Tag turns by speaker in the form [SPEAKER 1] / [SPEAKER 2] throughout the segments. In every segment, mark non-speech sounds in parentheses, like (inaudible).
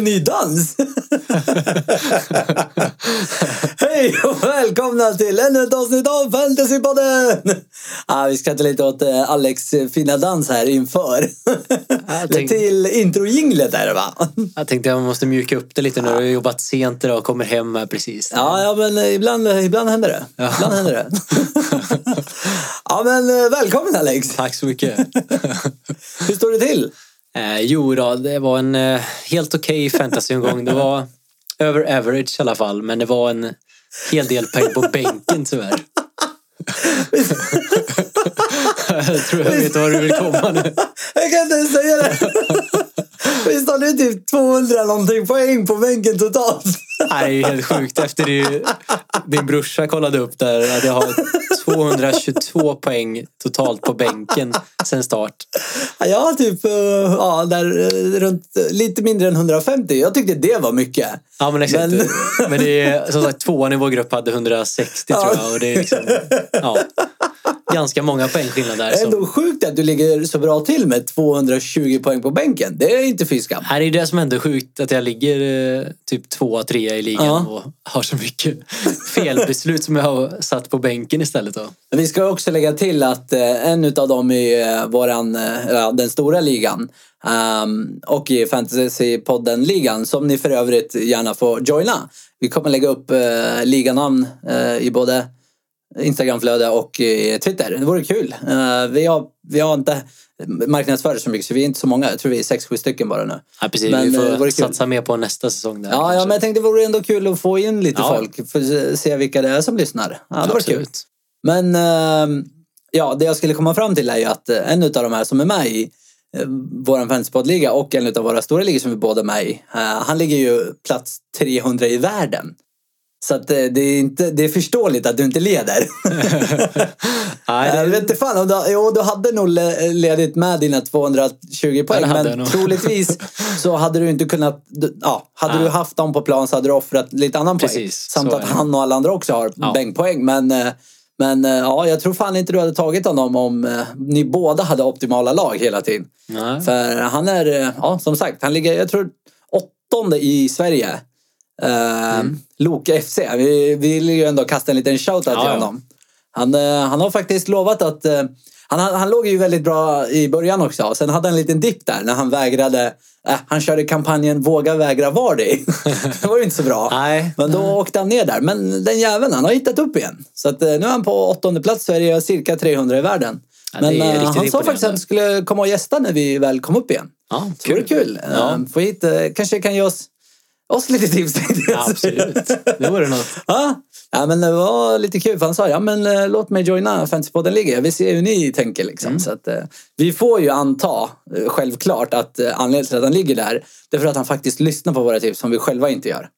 [SPEAKER 1] ny
[SPEAKER 2] (laughs)
[SPEAKER 1] dans! Hej och välkomna till ännu ett avsnitt av Fantasypodden! Ah, vi skrattar lite åt eh, Alex fina dans här inför.
[SPEAKER 2] Jag
[SPEAKER 1] Lägg
[SPEAKER 2] tänkte,
[SPEAKER 1] till introjinglet är det va?
[SPEAKER 2] jag tänkte jag måste mjuka upp det lite nu. Jag har jobbat sent idag och kommer hem här precis.
[SPEAKER 1] Ja, ja men eh, ibland, ibland händer det.
[SPEAKER 2] Ja.
[SPEAKER 1] Ibland händer
[SPEAKER 2] (laughs)
[SPEAKER 1] det. ja, men eh, välkommen Alex!
[SPEAKER 2] Tack så mycket.
[SPEAKER 1] Hur står det till?
[SPEAKER 2] (laughs) eh, jo då, det var en eh, helt okej fantasyomgång. Det var över average i alla fall, men det var en hel del poäng på bänken tyvärr. (laughs) jag tror jag vet var du vill komma nu.
[SPEAKER 1] Jag kan inte ens säga
[SPEAKER 2] (laughs)
[SPEAKER 1] det! Visst har du typ 200 någonting poäng på bänken totalt?
[SPEAKER 2] Nej, det är helt sjukt. Efter det, din brorsa kollade upp där att jag har 222 poäng totalt på bänken sen start.
[SPEAKER 1] Ja, Jag har typ eh, ja, där, eh, runt eh, lite mindre än 150. Jag tyckte det var mycket.
[SPEAKER 2] Ja men exakt.
[SPEAKER 1] Men-
[SPEAKER 2] Men, det är som sagt tvåan i vår grupp hade 160
[SPEAKER 1] Ja.
[SPEAKER 2] tror jag. Och det är liksom,
[SPEAKER 1] (laughs)
[SPEAKER 2] ja, ganska många poängskillnader där.
[SPEAKER 1] Det är
[SPEAKER 2] Som,
[SPEAKER 1] ändå sjukt att du ligger så bra till med 220 poäng på bänken. Det är inte fy skam.
[SPEAKER 2] här är det som ändå är sjukt att jag ligger eh, typ tvåa, trea i ligan
[SPEAKER 1] Ja.
[SPEAKER 2] och har så mycket felbeslut som jag har satt på bänken istället. Då.
[SPEAKER 1] Men Vi ska också lägga till att eh, en av dem i eh, våran, eh, ja, den stora ligan ehm, och i Fantasypodden-ligan som ni för övrigt gärna får joina. Vi kommer lägga upp eh, liganamn eh, i både Instagramflöde och eh, Twitter. Det vore kul. Eh, vi, har, vi har inte marknadsfört så mycket så vi är inte så många. Jag tror vi är sex, sju stycken bara nu.
[SPEAKER 2] Ja, precis,
[SPEAKER 1] Men,
[SPEAKER 2] vi
[SPEAKER 1] eh, det vore
[SPEAKER 2] får
[SPEAKER 1] kul.
[SPEAKER 2] satsa mer på nästa säsong. Där,
[SPEAKER 1] Ja, ja
[SPEAKER 2] kanske.
[SPEAKER 1] men jag tänkte det vore ändå kul att få in lite
[SPEAKER 2] Ja.
[SPEAKER 1] folk för att se vilka det är som lyssnar. Ja, det var kul.
[SPEAKER 2] Absolut.
[SPEAKER 1] Men ehm, ja, det jag skulle komma fram till är ju att eh, en av de här som är med i eh, vår fantasypoddliga och en av våra stora ligor som vi båda är med i. eh, Han ligger ju plats 300 i världen. Så att eh, det är, inte, det är förståeligt att du inte leder. (laughs)
[SPEAKER 2] Nej, det-
[SPEAKER 1] Jag vet inte fan, om du, jo, du hade nog le- ledigt med dina 220 poäng.
[SPEAKER 2] det hade jag
[SPEAKER 1] Men
[SPEAKER 2] nog. (laughs)
[SPEAKER 1] troligtvis så hade du inte kunnat... du- Ja, hade
[SPEAKER 2] Ja.
[SPEAKER 1] du haft dem på plan så hade du offrat lite annan poäng.
[SPEAKER 2] Precis,
[SPEAKER 1] Samt
[SPEAKER 2] så
[SPEAKER 1] att
[SPEAKER 2] är det.
[SPEAKER 1] han och alla andra också har
[SPEAKER 2] Ja.
[SPEAKER 1] bänkpoäng. Men, eh, men eh, ja, jag tror fan inte du hade tagit honom om eh, ni båda hade optimala lag hela tiden.
[SPEAKER 2] nej.
[SPEAKER 1] För han är, eh, ja som sagt, han ligger, jag tror, åttonde i Sverige. Eh,
[SPEAKER 2] Mm.
[SPEAKER 1] Loke FC. Vi vi vill ju ändå kasta en liten shoutout
[SPEAKER 2] Ja,
[SPEAKER 1] till
[SPEAKER 2] ja.
[SPEAKER 1] honom. Han, eh, han har faktiskt lovat att, eh, han, han låg ju väldigt bra i början också. Sen hade han en liten dipp där när han vägrade, eh, han körde kampanjen Våga vägra Vardy. (laughs) det var ju inte så bra.
[SPEAKER 2] Nej.
[SPEAKER 1] Men då åkte han ner där. Men den jäveln, han har hittat upp igen. Så att, eh, nu är han på åttonde plats i Sverige och cirka 300 i världen.
[SPEAKER 2] Ja, det är
[SPEAKER 1] Men eh,
[SPEAKER 2] riktigt
[SPEAKER 1] han sa
[SPEAKER 2] imponerande.
[SPEAKER 1] faktiskt att han skulle komma och gästa när vi väl kom upp igen.
[SPEAKER 2] Ja,
[SPEAKER 1] Så det vore kul.
[SPEAKER 2] Ja.
[SPEAKER 1] Eh, Få hit, eh, kanske kan ge oss, oss lite tips. tänkte jag
[SPEAKER 2] Ja,
[SPEAKER 1] säga.
[SPEAKER 2] absolut. Det vore något.
[SPEAKER 1] (laughs) Ja. ja, men det var lite kul för han sa ja men eh, låt mig joina Fantasypodden Liga. Vi ser hur ni tänker liksom.
[SPEAKER 2] Mm.
[SPEAKER 1] Så att, eh, vi får ju anta, eh, självklart, att eh, anledningen till att han ligger där, det är för att han faktiskt lyssnar på våra tips som vi själva inte gör.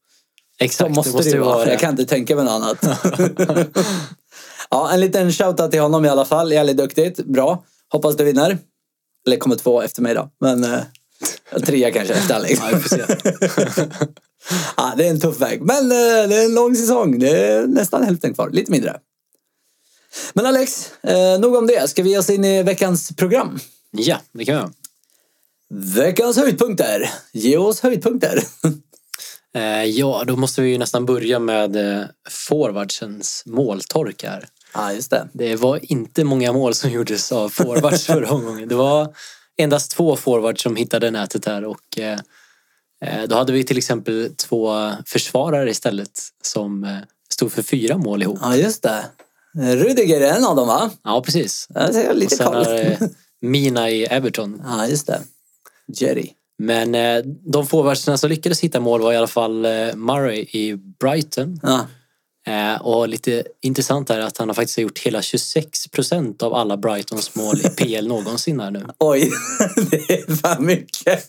[SPEAKER 1] Så
[SPEAKER 2] Exakt,
[SPEAKER 1] måste det, ju
[SPEAKER 2] ju
[SPEAKER 1] vara. Jag kan inte tänka mig något (laughs) annat. ja, en liten shoutout till honom i alla fall. Jävligt duktigt. Bra. Hoppas du vinner. Eller kommer två efter mig då. Men eh, trea kanske efter (laughs) Alex.
[SPEAKER 2] Ja, vi får se.
[SPEAKER 1] ja, det är en tuff väg. Men eh, det är en lång säsong. Det är nästan hälften kvar. Lite mindre. Men Alex, eh, nog om det. Ska vi ge oss in i veckans program?
[SPEAKER 2] Ja, det kan jag.
[SPEAKER 1] Veckans höjdpunkter. Ge oss höjdpunkter. (laughs)
[SPEAKER 2] Eh, ja, då måste vi ju nästan börja med eh, forwardsens måltork här.
[SPEAKER 1] ja, just det.
[SPEAKER 2] Det var inte många mål som (laughs) gjordes av forwards förra omgången. Det var endast två forwards som hittade nätet här och eh, eh, då hade vi till exempel två försvarare istället som eh, stod för fyra mål ihop.
[SPEAKER 1] Ja, just det. Rudiger är en av dem, va?
[SPEAKER 2] Ja, precis.
[SPEAKER 1] Ja, det är
[SPEAKER 2] Och
[SPEAKER 1] lite
[SPEAKER 2] sen
[SPEAKER 1] koll.
[SPEAKER 2] har eh, Mina i Everton
[SPEAKER 1] Ja, just det. Jerry.
[SPEAKER 2] Men eh, de forwardsarna som lyckades hitta mål var i alla fall eh, Murray i Brighton.
[SPEAKER 1] Ja.
[SPEAKER 2] Eh, och lite intressant är att han har faktiskt gjort hela 26 procent av alla Brightons mål i PL någonsin här nu.
[SPEAKER 1] Oj, (laughs) det är fan mycket.
[SPEAKER 2] (laughs)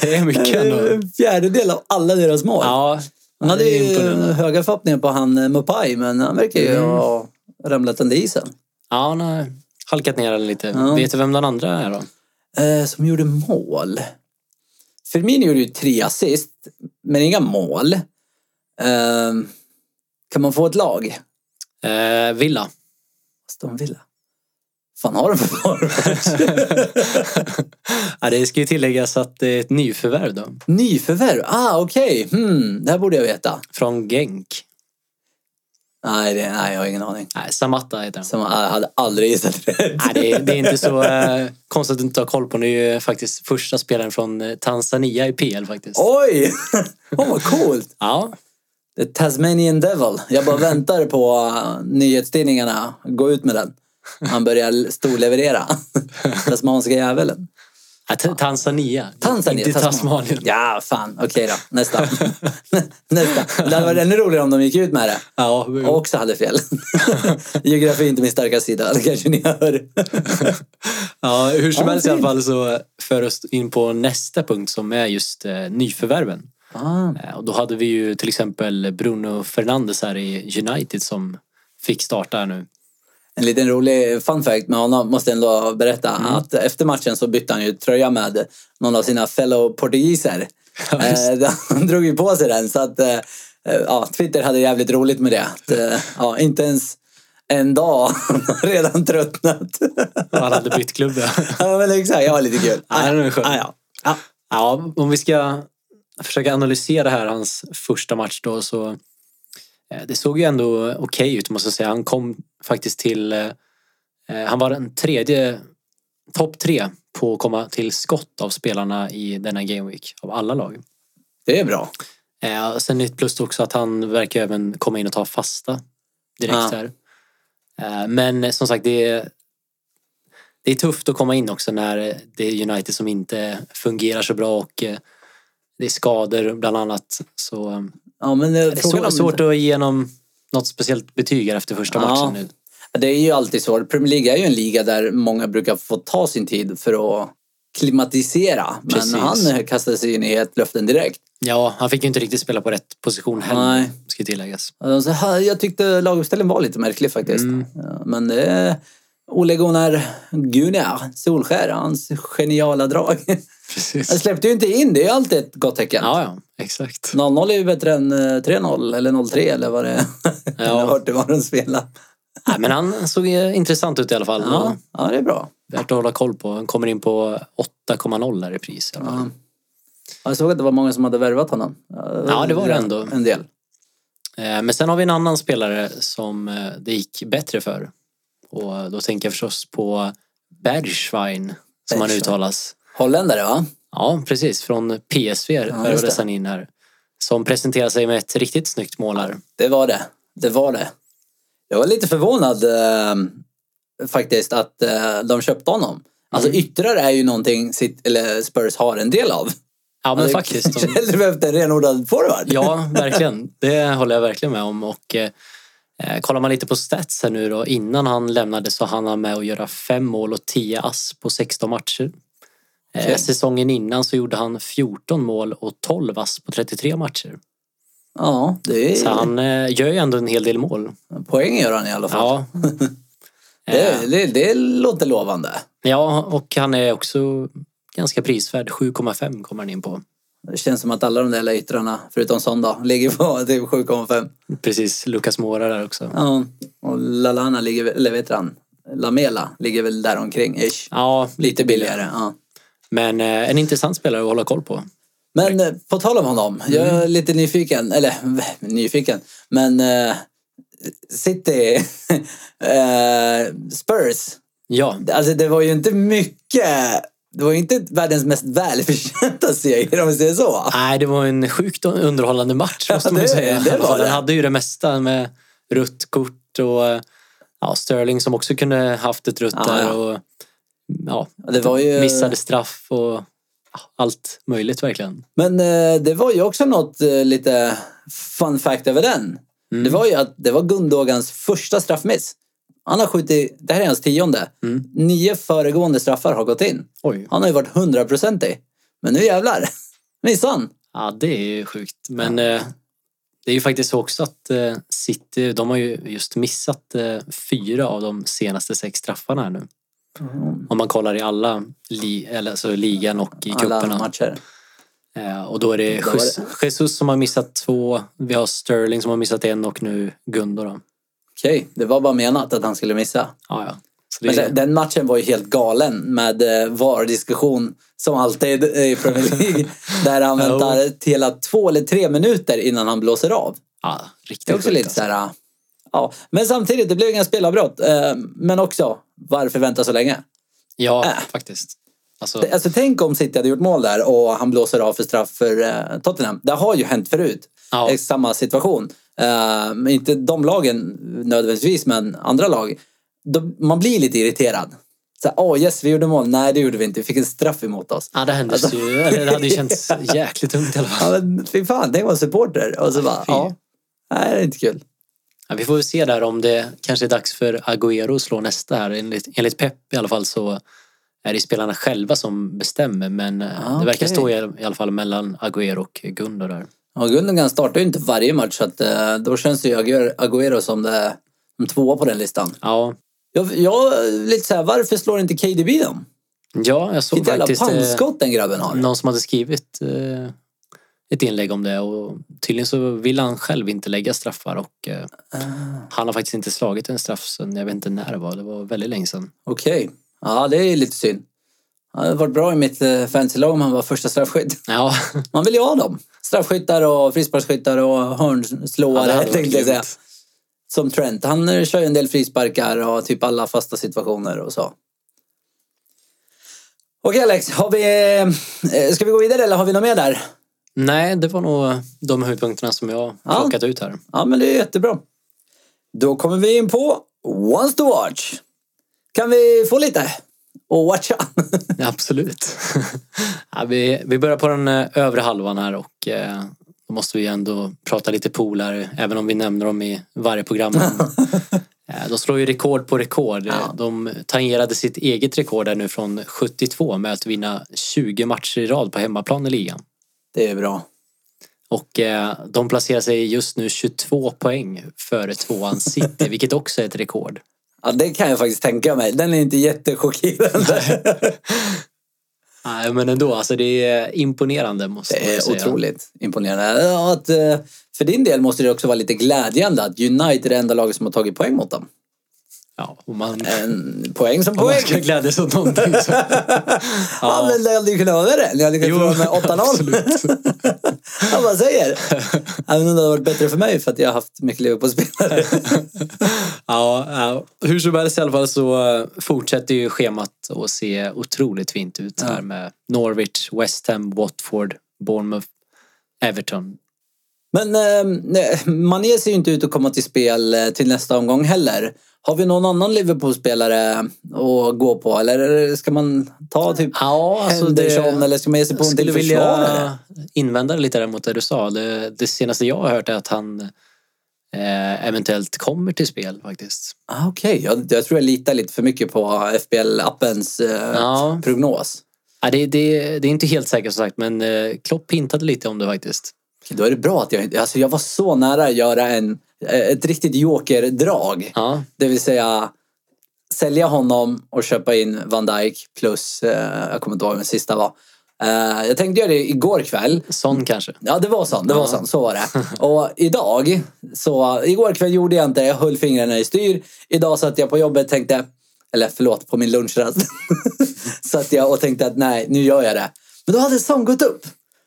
[SPEAKER 2] Det är
[SPEAKER 1] Det
[SPEAKER 2] mycket
[SPEAKER 1] är
[SPEAKER 2] ändå.
[SPEAKER 1] en fjärdedel av alla deras mål.
[SPEAKER 2] Ja,
[SPEAKER 1] han hade
[SPEAKER 2] det är
[SPEAKER 1] ju
[SPEAKER 2] imponerande.
[SPEAKER 1] höga förhoppningar på han eh, Mopai, men han verkar ju
[SPEAKER 2] Mm.
[SPEAKER 1] ha ramlat under isen.
[SPEAKER 2] ja, han har halkat ner lite.
[SPEAKER 1] Ja.
[SPEAKER 2] Vet du vem den andra är då?
[SPEAKER 1] Eh, som gjorde mål. Firmino gjorde ju tre assist, men inga mål. Eh, kan man få ett lag?
[SPEAKER 2] Eh, Villa.
[SPEAKER 1] Aston Villa. fan har de för forwards?
[SPEAKER 2] (laughs) ja, det ska ju tilläggas att det är ett nyförvärv då,
[SPEAKER 1] Nyförvärv? Ah, okej. Hmm, det här borde jag veta.
[SPEAKER 2] från Genk.
[SPEAKER 1] Nej, det, nej jag har ingen aning.
[SPEAKER 2] Nej, Samatta heter han.
[SPEAKER 1] Som, jag hade aldrig gissat rätt.
[SPEAKER 2] (laughs) Nej, det, är, det är inte så eh, konstigt att du inte har koll på. Det är ju faktiskt första spelaren från eh, Tanzania i PL faktiskt.
[SPEAKER 1] Oj! Åh, vad coolt!
[SPEAKER 2] Ja,
[SPEAKER 1] The Tasmanian Devil. Jag bara väntar på uh, nyhetstidningarna. Gå ut med den. Han börjar storleverera. (laughs) Tasmanska djävulen.
[SPEAKER 2] Ja, Ta- Tanzania.
[SPEAKER 1] Tanzania.
[SPEAKER 2] Inte
[SPEAKER 1] Tasman-
[SPEAKER 2] Tasmanien.
[SPEAKER 1] Ja, fan. Okej då. Nästa. (laughs) Nästa. Det hade varit ännu roligare om de gick ut med det.
[SPEAKER 2] Ja,
[SPEAKER 1] Och också hade fel. (laughs) Geografi är inte min starka sida. Det kanske ni
[SPEAKER 2] (laughs)
[SPEAKER 1] hör.
[SPEAKER 2] ja, hur som
[SPEAKER 1] Ja,
[SPEAKER 2] helst i alla
[SPEAKER 1] fint.
[SPEAKER 2] fall så för oss in på nästa punkt som är just eh, nyförvärven.
[SPEAKER 1] Ah,
[SPEAKER 2] Eh, och då hade vi ju till exempel Bruno Fernandes här i United som fick starta här nu.
[SPEAKER 1] En liten rolig fun fact med honom måste jag ändå berätta.
[SPEAKER 2] Mm.
[SPEAKER 1] Att efter matchen så bytte han ju tröja med någon av sina fellow
[SPEAKER 2] (laughs)
[SPEAKER 1] portugiser. eh, (laughs) han drog ju på sig den så att eh, eh, ja, Twitter hade jävligt roligt med det. Att,
[SPEAKER 2] (laughs)
[SPEAKER 1] eh, ja, inte ens en dag (laughs) han har redan tröttnat. (laughs)
[SPEAKER 2] Han hade bytt klubb. ja.
[SPEAKER 1] ja men exakt, det var lite kul.
[SPEAKER 2] Ja, den är skön.
[SPEAKER 1] Ah, ja. Ja.
[SPEAKER 2] Ja, om vi ska försöka analysera här hans första match då så eh, det såg ju ändå okej ut måste jag säga. Han kom faktiskt till eh, eh, han var den tredje topp tre på att komma till skott av spelarna i denna Game Week av alla lag.
[SPEAKER 1] Det är bra.
[SPEAKER 2] Eh, Sen ett plus också att han verkar även komma in och ta fasta direkt
[SPEAKER 1] Ja.
[SPEAKER 2] här. Eh, Men som sagt, det är, det är tufft att komma in också när det är United som inte fungerar så bra och eh, det är skador bland annat. Så eh,
[SPEAKER 1] Ja, men,
[SPEAKER 2] det är svårt, svårt att ge igenom något speciellt betyg här efter första
[SPEAKER 1] Ja.
[SPEAKER 2] matchen nu.
[SPEAKER 1] Det är ju alltid så. Premier League är ju en liga där många brukar få ta sin tid för att klimatisera. Men
[SPEAKER 2] Precis.
[SPEAKER 1] han kastade sig in i ett löften direkt.
[SPEAKER 2] Ja, han fick ju inte riktigt spela på rätt position heller,
[SPEAKER 1] Nej.
[SPEAKER 2] ska tilläggas.
[SPEAKER 1] Och Så här, jag tyckte laguppställningen var lite märklig faktiskt.
[SPEAKER 2] Mm.
[SPEAKER 1] Ja, Men det är Ole Gunnar Gunnar Solskär, hans geniala drag. (laughs) Han
[SPEAKER 2] Precis.
[SPEAKER 1] släppte ju inte in, det är ju alltid ett gott tecken.
[SPEAKER 2] Ja, ja, exakt.
[SPEAKER 1] 0-0 är ju bättre än eh, 3-0 eller 0-3 eller vad det är. (laughs) Jag har hört det var de spelar.
[SPEAKER 2] Nej, men han såg eh, intressant ut i alla fall. Och-
[SPEAKER 1] Ja, ja, det är bra.
[SPEAKER 2] Värt att hålla koll på. Han kommer in på 8,0 där i pris. i alla fall.
[SPEAKER 1] Ja. Jag såg att det var många som hade värvat honom.
[SPEAKER 2] Ja, det var det ändå.
[SPEAKER 1] En del.
[SPEAKER 2] Eh, Men sen har vi en annan spelare som eh, det gick bättre för. Och eh, då tänker jag förstås på Bergschwein som han
[SPEAKER 1] Bergschwein.
[SPEAKER 2] uttalas.
[SPEAKER 1] Holländare va?
[SPEAKER 2] Ja, precis. Från PSV värvades
[SPEAKER 1] det.
[SPEAKER 2] han in här. Som presenterar sig med ett riktigt snyggt mål här.
[SPEAKER 1] Det var det. Det var det. Jag var lite förvånad eh, faktiskt att eh, de köpte honom. Alltså
[SPEAKER 2] Mm.
[SPEAKER 1] yttrar är ju någonting sitt, eller Spurs har en del av.
[SPEAKER 2] Ja, men
[SPEAKER 1] Hade (laughs)
[SPEAKER 2] faktiskt. de-
[SPEAKER 1] Hellre behövt en renodlad forward.
[SPEAKER 2] Ja, verkligen. Det håller jag verkligen med om. Och eh, eh, kollar man lite på stats här nu då. Innan han lämnade så hann han med att göra fem mål och 10 ass på 16 matcher. Eh,
[SPEAKER 1] Okej.
[SPEAKER 2] säsongen innan så gjorde han 14 mål och 12 ass på 33 matcher.
[SPEAKER 1] Ja, det
[SPEAKER 2] Så
[SPEAKER 1] är
[SPEAKER 2] han eh, gör ju ändå en hel del mål.
[SPEAKER 1] poäng gör han i alla fall.
[SPEAKER 2] Ja. Eh,
[SPEAKER 1] Det, det, det låter lovande.
[SPEAKER 2] ja, och han är också ganska prisvärd. 7,5 kommer han in på.
[SPEAKER 1] Det känns som att alla de där jävla yttrarna, förutom Sonda, ligger på (laughs) typ 7,5.
[SPEAKER 2] Precis, Lucas Moura där också.
[SPEAKER 1] Ja, och Lalana ligger, väl- eller vet han? Lamela ligger väl där omkring ish.
[SPEAKER 2] Ja,
[SPEAKER 1] Lite billigare. Ja.
[SPEAKER 2] men eh, en intressant spelare att hålla koll på.
[SPEAKER 1] Men eh, på tal om honom, jag
[SPEAKER 2] Mm.
[SPEAKER 1] är lite nyfiken, eller (laughs) nyfiken, men eh, City, (laughs) eh, Spurs,
[SPEAKER 2] Ja,
[SPEAKER 1] alltså det var ju inte mycket, det var ju inte världens mest välförtjänta seger om vi säger så.
[SPEAKER 2] Nej, det var en sjukt underhållande match måste man ju
[SPEAKER 1] det-
[SPEAKER 2] säga.
[SPEAKER 1] det var
[SPEAKER 2] Den
[SPEAKER 1] det.
[SPEAKER 2] hade ju det mesta med rött kort och ja, Sterling som också kunde haft ett rött
[SPEAKER 1] Ja,
[SPEAKER 2] där
[SPEAKER 1] ja.
[SPEAKER 2] och ja,
[SPEAKER 1] Det var ju,
[SPEAKER 2] missade straff och ja, allt möjligt verkligen.
[SPEAKER 1] Men eh, det var ju också något eh, lite fun fact över den.
[SPEAKER 2] Mm.
[SPEAKER 1] Det var ju att det var Gundogans första straffmiss. Han har skjutit, det här är hans tionde.
[SPEAKER 2] Mm.
[SPEAKER 1] Nio föregående straffar har gått in.
[SPEAKER 2] Oj,
[SPEAKER 1] Han har ju varit hundraprocentig. Men nu jävlar. (laughs) Missade han.
[SPEAKER 2] ja, det är ju sjukt. Men eh, det är ju faktiskt så också att eh, City, de har ju just missat eh, fyra av de senaste sex straffarna här nu. Om man kollar i alla, li- eller, alltså ligan och Mm. i
[SPEAKER 1] Alla
[SPEAKER 2] cuperna.
[SPEAKER 1] matcher.
[SPEAKER 2] Eh, Och då är det
[SPEAKER 1] Då var
[SPEAKER 2] Jesus, Jesus som har missat två. Vi har Sterling som har missat en och nu Gundo då.
[SPEAKER 1] Okej, det var bara menat att han skulle missa.
[SPEAKER 2] Ja, ja. Så det,
[SPEAKER 1] Men sen, den matchen var ju helt galen med eh, VAR-diskussion som alltid i Premier
[SPEAKER 2] (laughs)
[SPEAKER 1] League. där han
[SPEAKER 2] Ja.
[SPEAKER 1] väntar hela två eller tre minuter innan han blåser av.
[SPEAKER 2] ja, riktigt
[SPEAKER 1] Det är också
[SPEAKER 2] sjukt
[SPEAKER 1] lite
[SPEAKER 2] alltså.
[SPEAKER 1] så här... Ja, men samtidigt, det blev inga spelavbrott. Eh, Men också, varför vänta så länge?
[SPEAKER 2] alltså. Ja,
[SPEAKER 1] Äh.
[SPEAKER 2] faktiskt. Alltså,
[SPEAKER 1] Alltså tänk om City hade gjort mål där och han blåser av för straff för eh, Tottenham. Det har ju hänt förut.
[SPEAKER 2] Ja.
[SPEAKER 1] Ex- Samma situation. Eh, men inte de lagen nödvändigtvis, men andra lag. Då- man blir lite irriterad. Så här, åh yes, vi gjorde mål. Nej, det gjorde vi inte. Vi fick en straff emot oss.
[SPEAKER 2] ja, det hände
[SPEAKER 1] Alltså-
[SPEAKER 2] ju. Eller det hade
[SPEAKER 1] (laughs)
[SPEAKER 2] ju känts jäkligt tungt i alla fall.
[SPEAKER 1] Ja, men fy fan, tänk vad supporter. Och så bara,
[SPEAKER 2] fy.
[SPEAKER 1] ja. Nej, det är inte kul.
[SPEAKER 2] Ja, vi får väl se där om det kanske är dags för Agüero att slå nästa här. Enligt, enligt Pep i alla fall så är det spelarna själva som bestämmer. Men eh,
[SPEAKER 1] Ah,
[SPEAKER 2] det verkar
[SPEAKER 1] okej.
[SPEAKER 2] stå i, i alla fall mellan Agüero och Gundo där.
[SPEAKER 1] Ja, Gundogan startar ju inte varje match, så att, eh, då känns ju Agüero- Agüero som det, som tvåa på den listan.
[SPEAKER 2] Ja,
[SPEAKER 1] Jag, jag är lite så här, varför slår inte KDB dem?
[SPEAKER 2] ja jag såg
[SPEAKER 1] Vilket jävla
[SPEAKER 2] faktiskt eh,
[SPEAKER 1] pannskott den grabben har.
[SPEAKER 2] någon som hade skrivit eh, ett inlägg om det och tydligen så vill han själv inte lägga straffar och eh, han har faktiskt inte slagit en straff sen jag vet inte när det var. Det var väldigt länge sedan.
[SPEAKER 1] Okej. Ja, det är lite synd. Det hade varit bra i mitt eh, fantasylag om han var första straffskytt. (laughs)
[SPEAKER 2] Ja, (laughs)
[SPEAKER 1] Man vill ju ha dem. Straffskyttar och frisparksskyttar och
[SPEAKER 2] Ja,
[SPEAKER 1] hörnslåare
[SPEAKER 2] det hade
[SPEAKER 1] (laughs)
[SPEAKER 2] varit
[SPEAKER 1] tänkte jag säga.
[SPEAKER 2] grymt.
[SPEAKER 1] Som Trent. Han eh, kör ju en del frisparkar och typ alla fasta situationer och så. Okej Alex, har vi, eh, ska vi gå vidare eller har vi något mer där?
[SPEAKER 2] Nej, det var nog de huvudpunkterna som jag
[SPEAKER 1] Ja.
[SPEAKER 2] plockat ut här.
[SPEAKER 1] Ja, men det är jättebra. Då kommer vi in på Once to watch. Kan vi få lite? Och watcha. (laughs)
[SPEAKER 2] Ja, Absolut. (laughs) ja, vi, vi börjar på den eh, övre halvan här och eh, då måste vi ändå prata lite polare, även om vi nämner dem i varje
[SPEAKER 1] (laughs)
[SPEAKER 2] program. Men, eh, de slår ju rekord på rekord. Eh,
[SPEAKER 1] Ja.
[SPEAKER 2] De tangerade sitt eget rekord där nu från 72 med att vinna 20 matcher i rad på hemmaplan i ligan.
[SPEAKER 1] Det är bra.
[SPEAKER 2] Och eh, de placerar sig just nu 22 poäng före tvåan City, vilket också är ett rekord. (laughs)
[SPEAKER 1] Ja, det kan jag faktiskt tänka mig. Den är inte jättechockerande.
[SPEAKER 2] Nej, men ändå, alltså det är imponerande måste
[SPEAKER 1] Det
[SPEAKER 2] man ju
[SPEAKER 1] är (laughs)
[SPEAKER 2] säga.
[SPEAKER 1] otroligt imponerande. Ja, Att, eh, för din del måste det också vara lite glädjande att United är det enda laget som har tagit poäng mot dem.
[SPEAKER 2] Ja, och man,
[SPEAKER 1] En poäng som
[SPEAKER 2] om man
[SPEAKER 1] poäng.
[SPEAKER 2] ska glädjas åt någonting så...
[SPEAKER 1] (laughs) Ja, men det hade ju kunnat vara värre. Ni hade kunnat förlora med 8-0.
[SPEAKER 2] absolut.
[SPEAKER 1] (laughs) Jag bara säger. Även om det hade varit bättre för mig för att jag har haft mycket
[SPEAKER 2] (laughs)
[SPEAKER 1] Liverpool-spelare.
[SPEAKER 2] Ja, ja, hur som helst i alla fall så eh, fortsätter ju schemat att se otroligt fint ut här
[SPEAKER 1] Ja.
[SPEAKER 2] med Norwich, West Ham, Watford, Bournemouth, Everton.
[SPEAKER 1] Men eh, nej, Mané ser ju inte ut att komma till spel eh, till nästa omgång heller. Har vi någon annan Liverpool-spelare att gå på? Eller ska man ta typ
[SPEAKER 2] Ja, alltså
[SPEAKER 1] Henderson
[SPEAKER 2] det...
[SPEAKER 1] eller ska man ge sig på
[SPEAKER 2] Jag
[SPEAKER 1] en
[SPEAKER 2] skulle
[SPEAKER 1] till försvarare?
[SPEAKER 2] vilja invända lite där mot det du sa. Det, det senaste jag har hört är att han eh, eventuellt kommer till spel faktiskt.
[SPEAKER 1] Ah, Okej, jag, jag tror jag litar lite för mycket på FBL-appens eh,
[SPEAKER 2] Ja.
[SPEAKER 1] prognos.
[SPEAKER 2] Ja, det, det, det är inte helt säkert som sagt, men eh, Klopp hintade lite om det faktiskt.
[SPEAKER 1] Okej, då är det bra att jag inte... Alltså jag var så nära att göra en, eh, ett riktigt jokerdrag.
[SPEAKER 2] Ja,
[SPEAKER 1] Det vill säga sälja honom och köpa in Van Dijk plus, eh, jag kommer inte ihåg vem den sista var. Eh, jag tänkte göra det igår kväll.
[SPEAKER 2] sån kanske.
[SPEAKER 1] Ja, det var sånt. Det var
[SPEAKER 2] Ja.
[SPEAKER 1] sånt. Så var
[SPEAKER 2] (laughs)
[SPEAKER 1] det. Och idag, så igår kväll gjorde jag inte Jag höll fingrarna i styr. Idag satt jag på jobbet och tänkte, eller förlåt, på min lunchrast. (laughs) satt jag och tänkte att nej, nu gör jag det. Men då hade Son gått upp.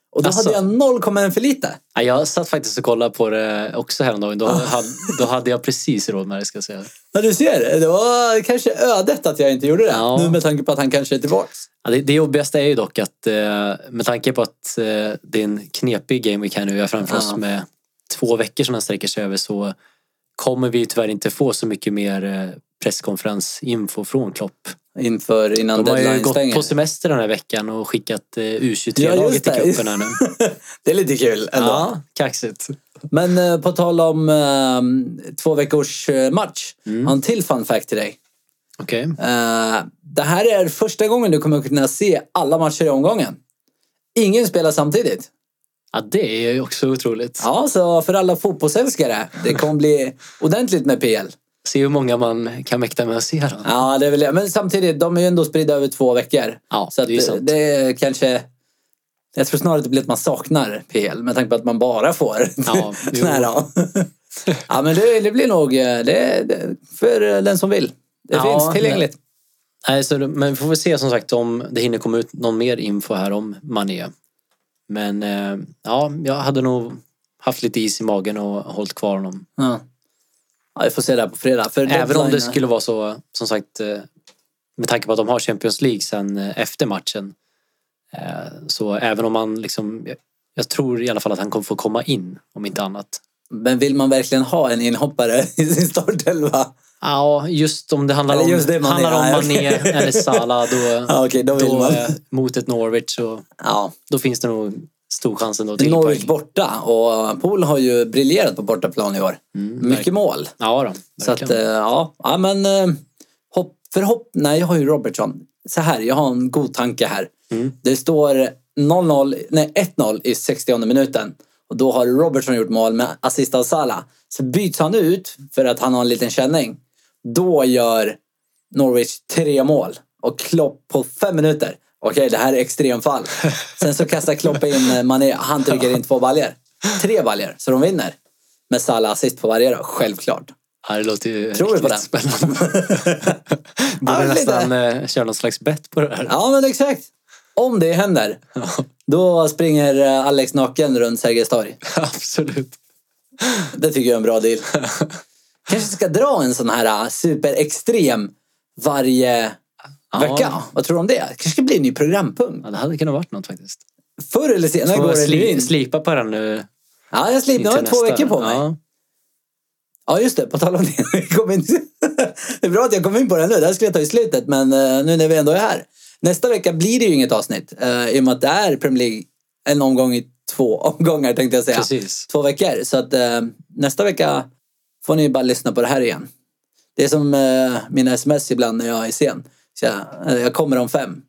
[SPEAKER 1] Och då
[SPEAKER 2] Alltså.
[SPEAKER 1] hade jag 0,1 för lite.
[SPEAKER 2] Ja, jag satt faktiskt och kollade på det också häromdagen.
[SPEAKER 1] Ah.
[SPEAKER 2] Då, hade, då hade jag precis råd med det ska jag säga.
[SPEAKER 1] Ja, du ser. Det var kanske ödet att jag inte gjorde det.
[SPEAKER 2] Ja.
[SPEAKER 1] Nu med tanke på att han kanske är tillbaks.
[SPEAKER 2] Ja, det, det jobbigaste är ju dock att eh, med tanke på att eh, det är en knepig game vi kan nu göra framför
[SPEAKER 1] Ja.
[SPEAKER 2] oss med två veckor som den sträcker sig över så kommer vi ju tyvärr inte få så mycket mer eh, presskonferensinfo från Klopp.
[SPEAKER 1] Inför innan
[SPEAKER 2] De har ju
[SPEAKER 1] deadline
[SPEAKER 2] gått
[SPEAKER 1] stänger.
[SPEAKER 2] på semester den här veckan och skickat eh,
[SPEAKER 1] Ja,
[SPEAKER 2] U23-laget
[SPEAKER 1] just
[SPEAKER 2] till
[SPEAKER 1] det.
[SPEAKER 2] cupen här nu.
[SPEAKER 1] Det är lite kul (laughs) ändå.
[SPEAKER 2] Ja, kaxigt.
[SPEAKER 1] Men eh, på tal om eh, två veckors eh, match.
[SPEAKER 2] Mm.
[SPEAKER 1] Har en till fun fact till dig.
[SPEAKER 2] Okej.
[SPEAKER 1] Eh, det här är första gången du kommer kunna se alla matcher i omgången. Ingen spelar samtidigt.
[SPEAKER 2] Ja, det är ju också otroligt.
[SPEAKER 1] Ja, så för alla fotbollsälskare, det kommer
[SPEAKER 2] (laughs)
[SPEAKER 1] bli ordentligt med PL.
[SPEAKER 2] Se hur många man kan mäkta med att se då.
[SPEAKER 1] Ja, det vill jag. Men samtidigt, de är ju ändå spridda över två veckor.
[SPEAKER 2] Ja,
[SPEAKER 1] så att
[SPEAKER 2] det är ju
[SPEAKER 1] det,
[SPEAKER 2] sant.
[SPEAKER 1] det är kanske... Jag tror snarare att det blir att man saknar PL med tanke på att man bara får (laughs)
[SPEAKER 2] Ja,
[SPEAKER 1] sån här. Ja. ja, men det, det blir nog eh, det, det, för den som vill. Det
[SPEAKER 2] Ja,
[SPEAKER 1] finns tillgängligt.
[SPEAKER 2] Nej, så, det- men vi får väl se som sagt om det hinner komma ut någon mer info här om Mané. Men eh, ja, jag hade nog haft lite is i magen och hållit kvar honom.
[SPEAKER 1] Ja. Ja, vi får se det här på fredag. För
[SPEAKER 2] Även om det
[SPEAKER 1] deadline-
[SPEAKER 2] skulle vara så, som sagt, eh, med tanke på att de har Champions League sen eh, efter matchen. eh, Så även om man liksom, jag- jag tror i alla fall att han kommer få komma in, om inte annat.
[SPEAKER 1] Men vill man verkligen ha en inhoppare (laughs) i sin startelva?
[SPEAKER 2] Ja, just om det handlar
[SPEAKER 1] Eller
[SPEAKER 2] om,
[SPEAKER 1] just det, Mané,
[SPEAKER 2] handlar om
[SPEAKER 1] ja,
[SPEAKER 2] Mané
[SPEAKER 1] okej.
[SPEAKER 2] eller Salah, då,
[SPEAKER 1] (laughs) Ja, okej, då vill
[SPEAKER 2] då,
[SPEAKER 1] man.
[SPEAKER 2] eh, mot ett Norwich så
[SPEAKER 1] Ja.
[SPEAKER 2] då finns det nog stor chans ändå till
[SPEAKER 1] Norwich
[SPEAKER 2] poäng.
[SPEAKER 1] borta och Pool har ju briljerat på bortaplan i år.
[SPEAKER 2] Mm,
[SPEAKER 1] Mycket mål.
[SPEAKER 2] Ja då,
[SPEAKER 1] Så att, eh, ja, ja men eh, hopp, förhopp... Nej, jag har ju Robertson. Så här, jag har en god tanke här. Det står 0-0, nej 1-0 i 60 minuten. Och då har Robertson gjort mål med assist av Salah. Så byts han ut för att han har en liten känning. Då gör Norwich tre mål och Klopp på fem minuter. Okej, det här är extremfall. Sen så kastar Klopp in eh, Mané. Han trycker in två baljer. Tre baljer, så de vinner. Med Salah assist på varje då, självklart.
[SPEAKER 2] ja, det låter ju
[SPEAKER 1] Tror du på
[SPEAKER 2] riktigt spännande.
[SPEAKER 1] Ja,
[SPEAKER 2] Borde
[SPEAKER 1] lite.
[SPEAKER 2] nästan eh, köra någon slags bett på det här.
[SPEAKER 1] Ja, men exakt. Om det händer, då springer eh, Alex naken runt Sergels torg.
[SPEAKER 2] (laughs) Absolut.
[SPEAKER 1] Det tycker jag är en bra deal. Kanske ska dra en sån här eh, superextrem varje
[SPEAKER 2] Ja.
[SPEAKER 1] vecka. Vad tror du om det? Kanske ska bli en ny programpunkt.
[SPEAKER 2] Ja, det hade kunnat varit något faktiskt.
[SPEAKER 1] Förr eller senare
[SPEAKER 2] Får
[SPEAKER 1] går det
[SPEAKER 2] sli,
[SPEAKER 1] in.
[SPEAKER 2] slipa på den nu.
[SPEAKER 1] Ja, jag slipper. Nu har
[SPEAKER 2] till
[SPEAKER 1] jag två
[SPEAKER 2] nästa.
[SPEAKER 1] veckor på mig. Ja.
[SPEAKER 2] Ja.
[SPEAKER 1] just det. På tal om det. (laughs) vi kom in- det är bra att jag kom in på det nu. Det här skulle jag ta i slutet, men eh, nu när vi ändå är här. Nästa vecka blir det ju inget avsnitt eh, i och med att det är Premier League en omgång i två (laughs) omgångar tänkte jag säga.
[SPEAKER 2] Precis.
[SPEAKER 1] två veckor. Så att eh, nästa vecka får ni bara lyssna på det här igen. Det är som eh, mina sms ibland när jag är sen. Så jag, eh, jag kommer om fem.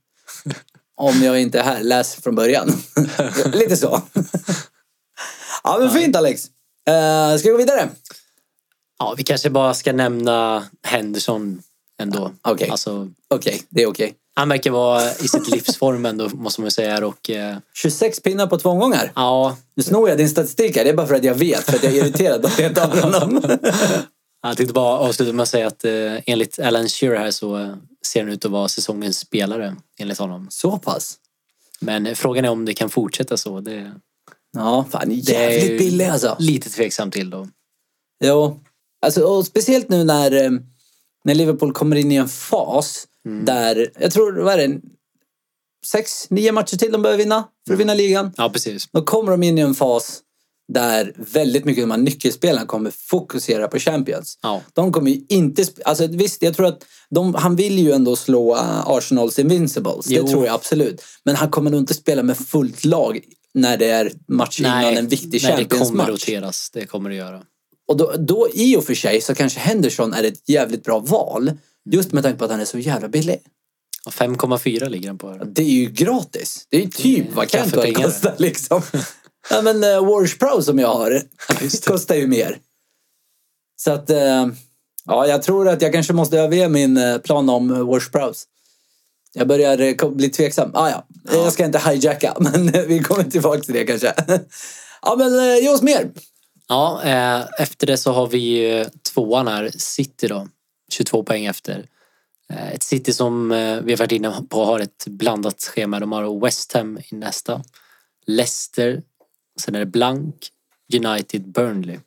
[SPEAKER 1] Om jag inte är här, läs från början. Lite så. ja men fint Alex. Eh, ska vi gå vidare?
[SPEAKER 2] Ja, vi kanske bara ska nämna Henderson ändå.
[SPEAKER 1] Ja, okej.
[SPEAKER 2] Alltså,
[SPEAKER 1] Okej, det är okej.
[SPEAKER 2] han verkar vara
[SPEAKER 1] (laughs)
[SPEAKER 2] i sitt livsform ändå, måste man ju säga. Och, eh,
[SPEAKER 1] 26 pinnar på två gånger.
[SPEAKER 2] ja,
[SPEAKER 1] Nu snor jag din statistik här. Det är bara för att jag vet, för att jag är irriterad på att jag inte har (laughs) honom.
[SPEAKER 2] Jag tänkte bara avsluta med att säga att eh, enligt Alan Shearer här så eh, ser han ut att vara säsongens spelare enligt honom.
[SPEAKER 1] så pass.
[SPEAKER 2] Men eh, frågan är om det kan fortsätta så. Det,
[SPEAKER 1] Ja, fan
[SPEAKER 2] det är
[SPEAKER 1] jävligt
[SPEAKER 2] ju
[SPEAKER 1] billig alltså.
[SPEAKER 2] Lite tveksam till då.
[SPEAKER 1] Jo, alltså, och speciellt nu när, eh, när Liverpool kommer in i en fas där, jag tror, vad är det, sex, nio matcher till de behöver vinna för att vinna ligan.
[SPEAKER 2] Ja, precis.
[SPEAKER 1] Då kommer de in i en fas där väldigt mycket av de här nyckelspelarna kommer fokusera på Champions.
[SPEAKER 2] Ja,
[SPEAKER 1] De kommer ju inte... sp- Alltså visst, jag tror att de, han vill ju ändå slå eh, Arsenals Invincibles.
[SPEAKER 2] Jo.
[SPEAKER 1] Det tror jag absolut. Men han kommer nog inte spela med fullt lag när det är match innan en viktig
[SPEAKER 2] nej, det kommer
[SPEAKER 1] Champions-match.
[SPEAKER 2] roteras. Det kommer det göra.
[SPEAKER 1] Och då, då i och för sig så kanske Henderson är ett jävligt bra val. Just med tanke på att han är så jävla billig.
[SPEAKER 2] Och 5,4 ligger den på. här.
[SPEAKER 1] Det är ju gratis. Det är ju typ
[SPEAKER 2] Mm,
[SPEAKER 1] vad Cantwell
[SPEAKER 2] kaffepengare.
[SPEAKER 1] kostar
[SPEAKER 2] (laughs)
[SPEAKER 1] liksom. ja men uh, Warsh Pro som jag har
[SPEAKER 2] just det.
[SPEAKER 1] kostar ju mer. Så att eh, ja, jag tror att jag kanske måste överge min eh, plan om uh, Warsh Pros. Jag börjar eh, kom- bli tveksam. Ah, ja.
[SPEAKER 2] Ja.
[SPEAKER 1] Jag ska inte hijacka (laughs) men eh, vi kommer tillbaka till det kanske. (laughs) ja men uh, ge oss mer.
[SPEAKER 2] Ja, eh, efter det så har vi eh, tvåan här, City då. 22 poäng efter. Eh, ett City som eh, vi har varit inne på har ett blandat schema. De har West Ham i nästa. Leicester. Sen är det blank. United Burnley.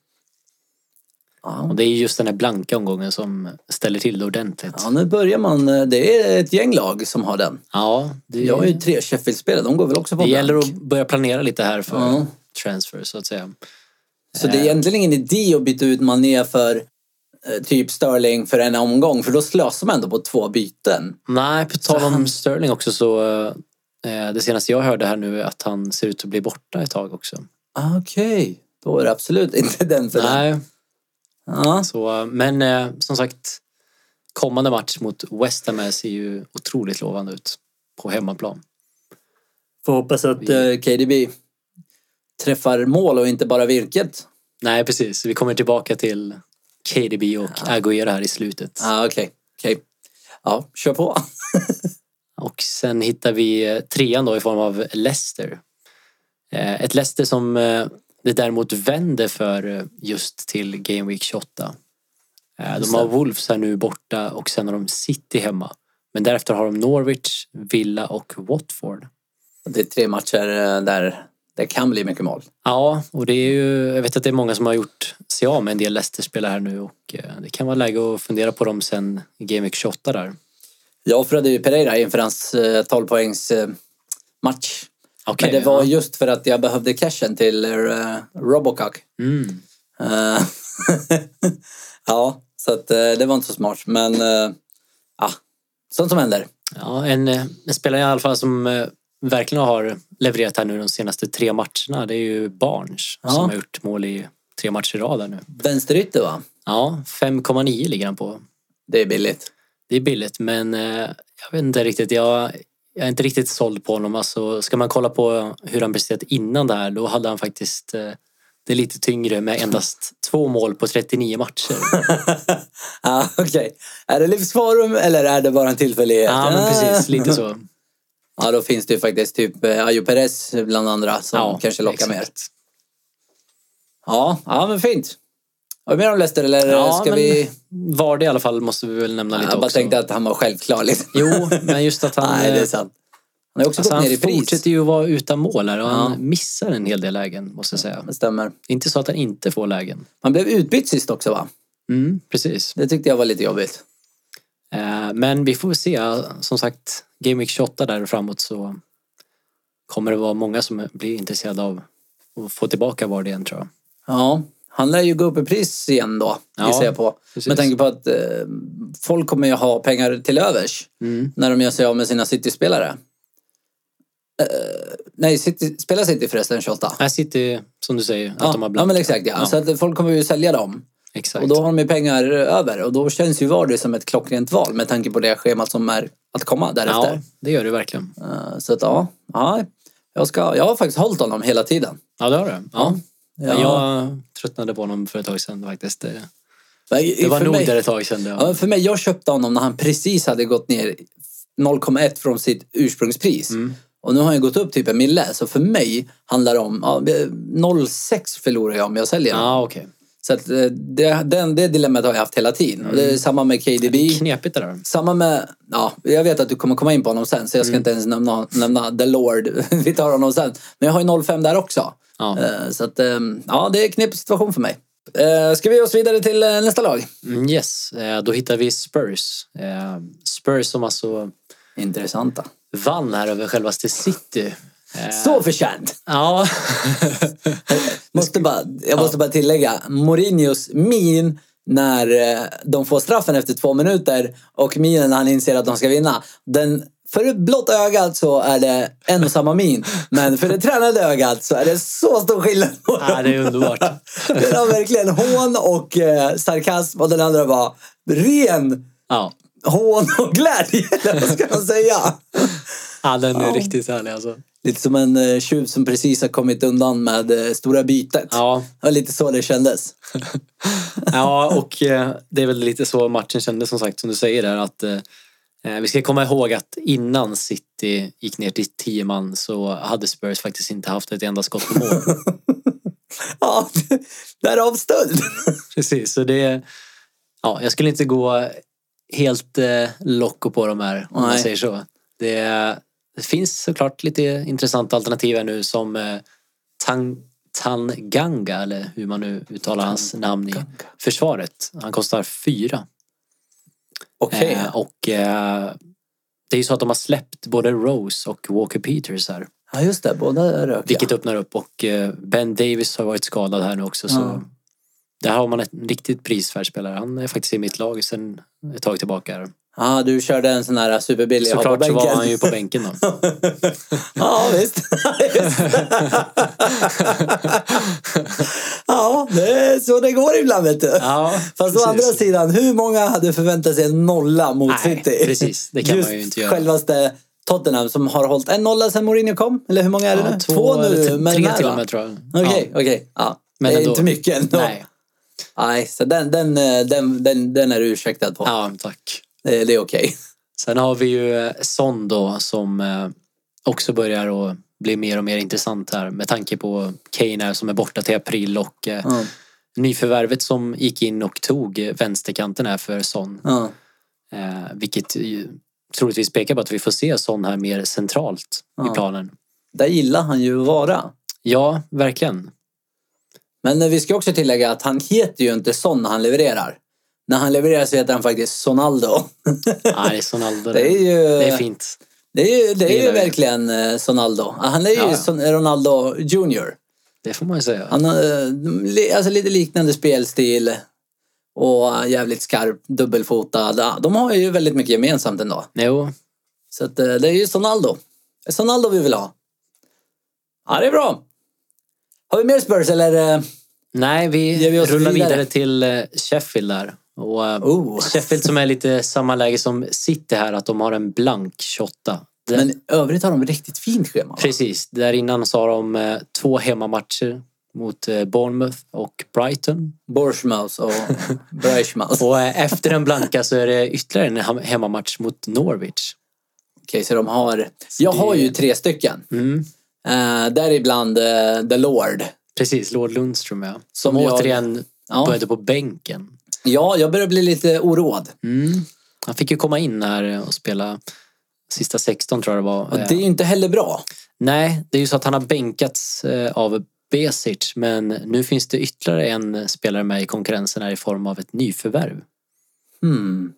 [SPEAKER 1] Ja.
[SPEAKER 2] Och det är just den här blanka omgången som ställer till det ordentligt.
[SPEAKER 1] Ja, nu börjar man. eh, Det är ett gäng lag som har den.
[SPEAKER 2] Ja, det,
[SPEAKER 1] Jag har ju tre Sheffield-spelare, de går väl också på
[SPEAKER 2] det gäller
[SPEAKER 1] blank.
[SPEAKER 2] att börja planera lite här för
[SPEAKER 1] Ja.
[SPEAKER 2] transfer så att säga.
[SPEAKER 1] Så det är egentligen ingen idé att byta ut Mané för eh, typ Sterling för en omgång, för då slösar man ändå på två byten.
[SPEAKER 2] Nej, på tal om Sterling också så eh, det senaste jag hörde här nu är att han ser ut att bli borta ett tag också.
[SPEAKER 1] Ah, Okej, då är det absolut (laughs) inte den för den.
[SPEAKER 2] Nej,
[SPEAKER 1] Ja.
[SPEAKER 2] så, eh, men eh, som sagt kommande match mot West Ham här ser ju otroligt lovande ut på hemmaplan.
[SPEAKER 1] Får hoppas att eh, KDB träffar mål och inte bara virket.
[SPEAKER 2] Nej, precis. Vi kommer tillbaka till KDB och Aguera här i slutet.
[SPEAKER 1] Ah, Okej, okej. Ja, kör på. (laughs)
[SPEAKER 2] Och sen hittar vi eh, trean då i form av Leicester. Eh, Ett Leicester som eh, det däremot vänder för eh, just till Game Week 28. Eh,
[SPEAKER 1] Just
[SPEAKER 2] De har
[SPEAKER 1] det.
[SPEAKER 2] Wolves här nu borta och sen har de City hemma. Men därefter har de Norwich, Villa och Watford.
[SPEAKER 1] Det är tre matcher eh, där det kan bli mycket mål.
[SPEAKER 2] Ja, och det är ju, jag vet att det är många som har gjort sig av med en del Leicester-spelare här nu och eh, det kan vara läge att fundera på dem sen i Game Week 28 där.
[SPEAKER 1] Jag offrade ju Pereira inför hans eh, 12 poängs eh, match.
[SPEAKER 2] Okej,
[SPEAKER 1] Men det var
[SPEAKER 2] ja.
[SPEAKER 1] just för att jag behövde cashen till eh, Robocock.
[SPEAKER 2] Mm.
[SPEAKER 1] Eh, (laughs) ja, så att, eh, det var inte så smart. Men eh, ah, sånt som händer.
[SPEAKER 2] Ja, en, eh, en spelare i alla fall som eh, verkligen har levererat här nu de senaste tre matcherna det är ju Barnes
[SPEAKER 1] Ja.
[SPEAKER 2] som har gjort mål i tre matcher i rad här nu.
[SPEAKER 1] Vänsterytter va?
[SPEAKER 2] Ja, 5,9 ligger han på.
[SPEAKER 1] Det är billigt.
[SPEAKER 2] Det är billigt men eh, jag vet inte riktigt. Jag, jag är inte riktigt såld på honom. Alltså, ska man kolla på hur han presterat innan det här då hade han faktiskt eh, det lite tyngre med endast två mål på
[SPEAKER 1] (laughs)
[SPEAKER 2] 39 matcher.
[SPEAKER 1] Ah, (laughs) Okej. Är det livsforum eller är det bara en tillfällighet?
[SPEAKER 2] Ja,
[SPEAKER 1] (laughs)
[SPEAKER 2] men precis. Lite så.
[SPEAKER 1] Ja, då finns det ju faktiskt typ eh, Ayo Perez bland andra som
[SPEAKER 2] Ja,
[SPEAKER 1] kanske lockar
[SPEAKER 2] exakt.
[SPEAKER 1] mer. Ja, ja, men fint. Har vi mer om Leicester eller
[SPEAKER 2] Ja,
[SPEAKER 1] ska
[SPEAKER 2] men
[SPEAKER 1] vi...
[SPEAKER 2] Var det i alla fall måste vi väl nämna
[SPEAKER 1] Jag
[SPEAKER 2] lite
[SPEAKER 1] bara
[SPEAKER 2] också.
[SPEAKER 1] tänkte att han var självklar. Liksom.
[SPEAKER 2] Jo, men just att han...
[SPEAKER 1] Nej, det är
[SPEAKER 2] eh,
[SPEAKER 1] sant. Han har också
[SPEAKER 2] Alltså
[SPEAKER 1] gått
[SPEAKER 2] han
[SPEAKER 1] ner i pris.
[SPEAKER 2] fortsätter ju att vara utan mål här och
[SPEAKER 1] Ja.
[SPEAKER 2] han missar en hel del lägen måste jag säga.
[SPEAKER 1] Det stämmer.
[SPEAKER 2] Det är inte så att han inte får lägen.
[SPEAKER 1] Man blev utbytt sist också va?
[SPEAKER 2] Mm, precis.
[SPEAKER 1] Det tyckte jag var lite jobbigt.
[SPEAKER 2] Eh, Men vi får väl se. Som sagt, Game Week 28 där och framåt så kommer det vara många som blir intresserade av att få tillbaka var det än tror jag.
[SPEAKER 1] Ja, han lär ju gå upp i pris igen då,
[SPEAKER 2] Ja,
[SPEAKER 1] gissar jag på.
[SPEAKER 2] precis.
[SPEAKER 1] Med tanke på att eh, folk kommer ju ha pengar till övers
[SPEAKER 2] Mm.
[SPEAKER 1] när de gör sig av med sina City-spelare. Eh, nej, City, spelar City förresten 28?
[SPEAKER 2] Här sitter, som du säger, att
[SPEAKER 1] Ja,
[SPEAKER 2] de har
[SPEAKER 1] ja,
[SPEAKER 2] blandat.
[SPEAKER 1] men exakt. Ja.
[SPEAKER 2] Ja.
[SPEAKER 1] Så att folk kommer ju sälja dem.
[SPEAKER 2] Exakt.
[SPEAKER 1] Och då har de ju pengar över. Och då känns ju Vardy som ett klockrent val med tanke på det schemat som är att komma därefter.
[SPEAKER 2] ja, det gör det verkligen.
[SPEAKER 1] Eh, Så att ja, ja jag, ska, jag har faktiskt hållit honom hela tiden.
[SPEAKER 2] Ja, det har det. Ja.
[SPEAKER 1] Ja.
[SPEAKER 2] Jag tröttnade på honom för ett tag sedan faktiskt. Det,
[SPEAKER 1] Men
[SPEAKER 2] det var
[SPEAKER 1] för
[SPEAKER 2] nog
[SPEAKER 1] mig,
[SPEAKER 2] där ett tag sedan.
[SPEAKER 1] ja,
[SPEAKER 2] Ja.
[SPEAKER 1] men för mig, jag köpte honom när han precis hade gått ner 0,1 från sitt ursprungspris.
[SPEAKER 2] Mm.
[SPEAKER 1] Och nu har han ju gått upp typ en mille. Så för mig handlar det om, ja, 0,6 förlorar jag om jag säljer.
[SPEAKER 2] Ja, okej.
[SPEAKER 1] Så att eh, det, den, det dilemmat har jag haft hela tiden. Och
[SPEAKER 2] Mm.
[SPEAKER 1] det är samma med KDB.
[SPEAKER 2] Knepigt det där.
[SPEAKER 1] Samma med, ja, jag vet att du kommer komma in på honom sen så jag
[SPEAKER 2] Mm.
[SPEAKER 1] ska inte ens nämna, nämna The Lord. (laughs) Vi tar honom sen. Men jag har ju 05 där också.
[SPEAKER 2] Ja.
[SPEAKER 1] Eh, Så att, eh, ja, det är en knepig situation för mig. Eh, Ska vi ge oss vidare till eh, nästa lag?
[SPEAKER 2] Mm, Yes, eh, då hittar vi Spurs. Eh, Spurs som alltså
[SPEAKER 1] Intressanta.
[SPEAKER 2] vann här över självaste City. Eh,
[SPEAKER 1] Så
[SPEAKER 2] (laughs)
[SPEAKER 1] förtjänt!
[SPEAKER 2] Ja,
[SPEAKER 1] Måste bara, jag måste bara tillägga, Mourinhos min när eh, de får straffen efter två minuter och minen när han inser att de ska vinna. Den, för det blotta ögat så alltså är det en och samma min. Men för det tränade ögat så alltså är det så stor skillnad på
[SPEAKER 2] ja, det är underbart.
[SPEAKER 1] Den har verkligen hån och eh, sarkasm och den andra var ren
[SPEAKER 2] Ja,
[SPEAKER 1] hån och glädje. (laughs) eller Vad ska man säga?
[SPEAKER 2] ja den är riktigt härlig alltså.
[SPEAKER 1] Lite som en eh, tjuv som precis har kommit undan med eh, stora bytet.
[SPEAKER 2] Ja,
[SPEAKER 1] Det var lite så det
[SPEAKER 2] (laughs)
[SPEAKER 1] kändes.
[SPEAKER 2] ja och eh, det är väl lite så matchen kändes som sagt som du säger där att eh, vi ska komma ihåg att innan City gick ner till tio man så hade Spurs faktiskt inte haft ett enda skott på mål.
[SPEAKER 1] Ja, därav stöld.
[SPEAKER 2] Precis, så det... Ja, jag skulle inte gå helt eh, locko på de här, om man
[SPEAKER 1] Nej.
[SPEAKER 2] säger så. Det, det finns såklart lite intressanta alternativ här nu som eh, Tang, Tanganga, eller hur man nu uttalar hans namn i försvaret. Han kostar fyra.
[SPEAKER 1] Okej.
[SPEAKER 2] Eh, och eh, det är ju så att de har släppt både Rose och Walker Peters här.
[SPEAKER 1] Ja, just det. Båda rök.
[SPEAKER 2] Vilket
[SPEAKER 1] ja.
[SPEAKER 2] öppnar upp och eh, Ben Davis har varit skadad här nu också så
[SPEAKER 1] Ja.
[SPEAKER 2] där har man en riktigt prisvärd spelare. Han är faktiskt i mitt lag sedan ett tag tillbaka. Här.
[SPEAKER 1] Ja, du körde en sån här superbillig jag har på
[SPEAKER 2] Såklart så var
[SPEAKER 1] bänken.
[SPEAKER 2] han ju på bänken då.
[SPEAKER 1] (laughs) Ja, visst. Just
[SPEAKER 2] (laughs)
[SPEAKER 1] det. ja, det är så det går ibland vet du.
[SPEAKER 2] Ja,
[SPEAKER 1] Fast å andra sidan, hur många hade förväntat sig en nolla mot
[SPEAKER 2] Nej,
[SPEAKER 1] City?
[SPEAKER 2] precis. Det kan man
[SPEAKER 1] Just
[SPEAKER 2] ju inte göra.
[SPEAKER 1] självaste Tottenham som har hållit en nolla sedan Mourinho kom. Eller hur många är det
[SPEAKER 2] Ja,
[SPEAKER 1] nu?
[SPEAKER 2] två, eller tre,
[SPEAKER 1] men
[SPEAKER 2] tre
[SPEAKER 1] här,
[SPEAKER 2] till
[SPEAKER 1] va?
[SPEAKER 2] och med tror jag.
[SPEAKER 1] Okej, okej. Ja.
[SPEAKER 2] Men
[SPEAKER 1] det är
[SPEAKER 2] ändå.
[SPEAKER 1] inte mycket ändå.
[SPEAKER 2] Ja. Nej.
[SPEAKER 1] Nej, så den, den, eh, den, den, den är du ursäktad på.
[SPEAKER 2] Ja, tack.
[SPEAKER 1] Eh, Det är okej.
[SPEAKER 2] Sen har vi ju eh, Son då som eh, också börjar att bli mer och mer intressant här med tanke på Kane här som är borta till april och eh,
[SPEAKER 1] Ja.
[SPEAKER 2] nyförvärvet som gick in och tog eh, vänsterkanten här för Son.
[SPEAKER 1] Ja.
[SPEAKER 2] Eh, vilket ju troligtvis pekar på att vi får se Son här mer centralt
[SPEAKER 1] Ja.
[SPEAKER 2] i planen.
[SPEAKER 1] Där gillar han ju att vara.
[SPEAKER 2] Ja,
[SPEAKER 1] (laughs)
[SPEAKER 2] verkligen.
[SPEAKER 1] Men eh, vi ska också tillägga att han heter ju inte Son när han levererar. När han levererar så heter han faktiskt Sonaldo.
[SPEAKER 2] Ja, det är Sonaldo.
[SPEAKER 1] Det är ju, eh,
[SPEAKER 2] det är fint.
[SPEAKER 1] det är ju, det är ju
[SPEAKER 2] gillar vi.
[SPEAKER 1] verkligen eh, Sonaldo. Han är ju
[SPEAKER 2] Ja, ja.
[SPEAKER 1] Son- Ronaldo Junior.
[SPEAKER 2] Det får man ju säga.
[SPEAKER 1] Han har eh, li- alltså lite liknande spelstil och eh, jävligt skarp, dubbelfotad. Ja, De har ju väldigt mycket gemensamt ändå.
[SPEAKER 2] Jo,
[SPEAKER 1] Så att, eh, det är ju Sonaldo. Det är Sonaldo vi vill ha. Ja, det är bra. Har vi mer Spurs eller? eh,
[SPEAKER 2] Nej, vi,
[SPEAKER 1] Ger vi oss
[SPEAKER 2] rullar
[SPEAKER 1] vidare?
[SPEAKER 2] vidare, till eh, Sheffield där. Och, eh,
[SPEAKER 1] Oh.
[SPEAKER 2] Sheffield som är lite samma läge som City här, att de har en blank 28. Där,
[SPEAKER 1] Men i övrigt har de riktigt fint schema. va?
[SPEAKER 2] Precis, där innan så har de eh, två hemmamatcher mot eh, Bournemouth och Brighton.
[SPEAKER 1] Borschmaus och
[SPEAKER 2] (laughs)
[SPEAKER 1] Breischmaus. Okej,
[SPEAKER 2] Och eh, efter den blanka så är det ytterligare en hem- hemmamatch mot Norwich.
[SPEAKER 1] så de har... Jag har ju tre stycken.
[SPEAKER 2] Mm.
[SPEAKER 1] Eh, däribland eh, The Lord.
[SPEAKER 2] Precis, Lord Lundström ja. Som
[SPEAKER 1] Som jag-
[SPEAKER 2] återigen
[SPEAKER 1] Ja.
[SPEAKER 2] började på bänken.
[SPEAKER 1] ja, jag börjar bli lite oroad.
[SPEAKER 2] Mm. Han fick ju komma in här och spela sista 16 tror jag det var.
[SPEAKER 1] Och
[SPEAKER 2] Eh,
[SPEAKER 1] det är ju inte heller bra.
[SPEAKER 2] Nej, det är ju så att han har bänkats eh, av Besic men nu finns det ytterligare en spelare med i konkurrensen här i form av ett nyförvärv.
[SPEAKER 1] Hmm.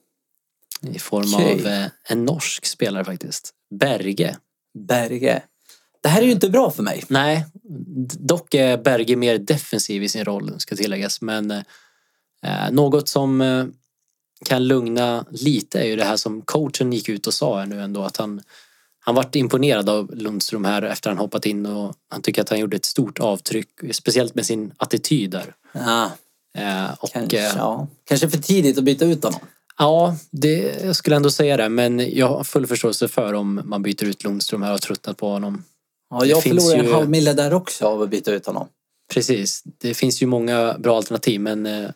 [SPEAKER 2] I form
[SPEAKER 1] Okej.
[SPEAKER 2] av eh, en norsk spelare faktiskt. Berge.
[SPEAKER 1] Berge. Det här är ju inte bra för mig.
[SPEAKER 2] Nej, d- dock är Berge mer defensiv i sin roll ska tilläggas men eh, något som eh, kan lugna lite är ju det här som coachen gick ut och sa här nu ändå att han han vart imponerad av Lundström här efter han hoppat in och han tycker att han gjorde ett stort avtryck, speciellt med sin attityd där.
[SPEAKER 1] Ja,
[SPEAKER 2] Eh, och,
[SPEAKER 1] kanske,
[SPEAKER 2] eh,
[SPEAKER 1] ja. kanske för tidigt att byta ut honom.
[SPEAKER 2] ja, det, jag skulle ändå säga det. Men jag har full förståelse för om man byter ut Lundström här och har tröttnat på honom.
[SPEAKER 1] Ja, jag
[SPEAKER 2] Det finns
[SPEAKER 1] förlorar en
[SPEAKER 2] ju-
[SPEAKER 1] halv mille där också av att byta ut honom.
[SPEAKER 2] Precis, det finns ju många bra alternativ men eh,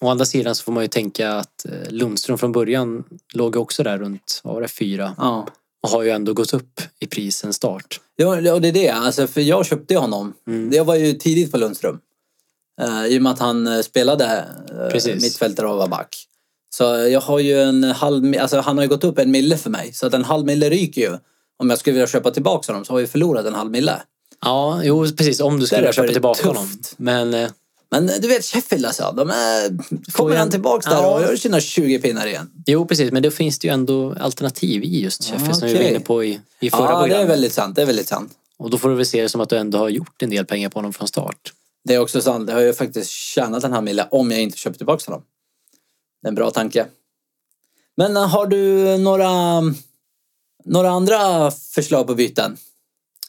[SPEAKER 2] å andra sidan så får man ju tänka att eh, Lundström från början låg ju också där runt, vad var det, fyra
[SPEAKER 1] Ja.
[SPEAKER 2] och har ju ändå gått upp i pris sen start.
[SPEAKER 1] Ja, och det är det. Alltså, för jag köpte ju honom.
[SPEAKER 2] Mm.
[SPEAKER 1] Jag var ju tidigt på Lundström. Eh, I och med att han eh, spelade uh,
[SPEAKER 2] Precis.
[SPEAKER 1] mittfältare och var back. Så jag har ju en halv... mi- Alltså han har ju gått upp en mille för mig. Så att en halv mille ryker ju. Om jag skulle vilja köpa tillbaka honom så har jag ju förlorat en halv mille.
[SPEAKER 2] Ja, jo precis, om du skulle
[SPEAKER 1] Därför är
[SPEAKER 2] köpa
[SPEAKER 1] det
[SPEAKER 2] tillbaka
[SPEAKER 1] tufft.
[SPEAKER 2] honom. Men eh,
[SPEAKER 1] Men eh, du vet Sheffield alltså. De är... Kommer
[SPEAKER 2] jag-
[SPEAKER 1] han tillbaka där
[SPEAKER 2] Ja.
[SPEAKER 1] och gör sina 20 pinnar igen.
[SPEAKER 2] jo precis, men då finns det ju ändå alternativ i just Sheffield som vi var
[SPEAKER 1] okej.
[SPEAKER 2] inne på i, i förra
[SPEAKER 1] Ja, det är
[SPEAKER 2] programmet.
[SPEAKER 1] väldigt sant. Det är väldigt sant.
[SPEAKER 2] Och då får du väl se det som att du ändå har gjort en del pengar på honom från start.
[SPEAKER 1] Det är också sant. Jag har ju faktiskt tjänat en halv mille om jag inte köper tillbaka honom. Det är en bra tanke. Men eh, har du några, några andra förslag på byten?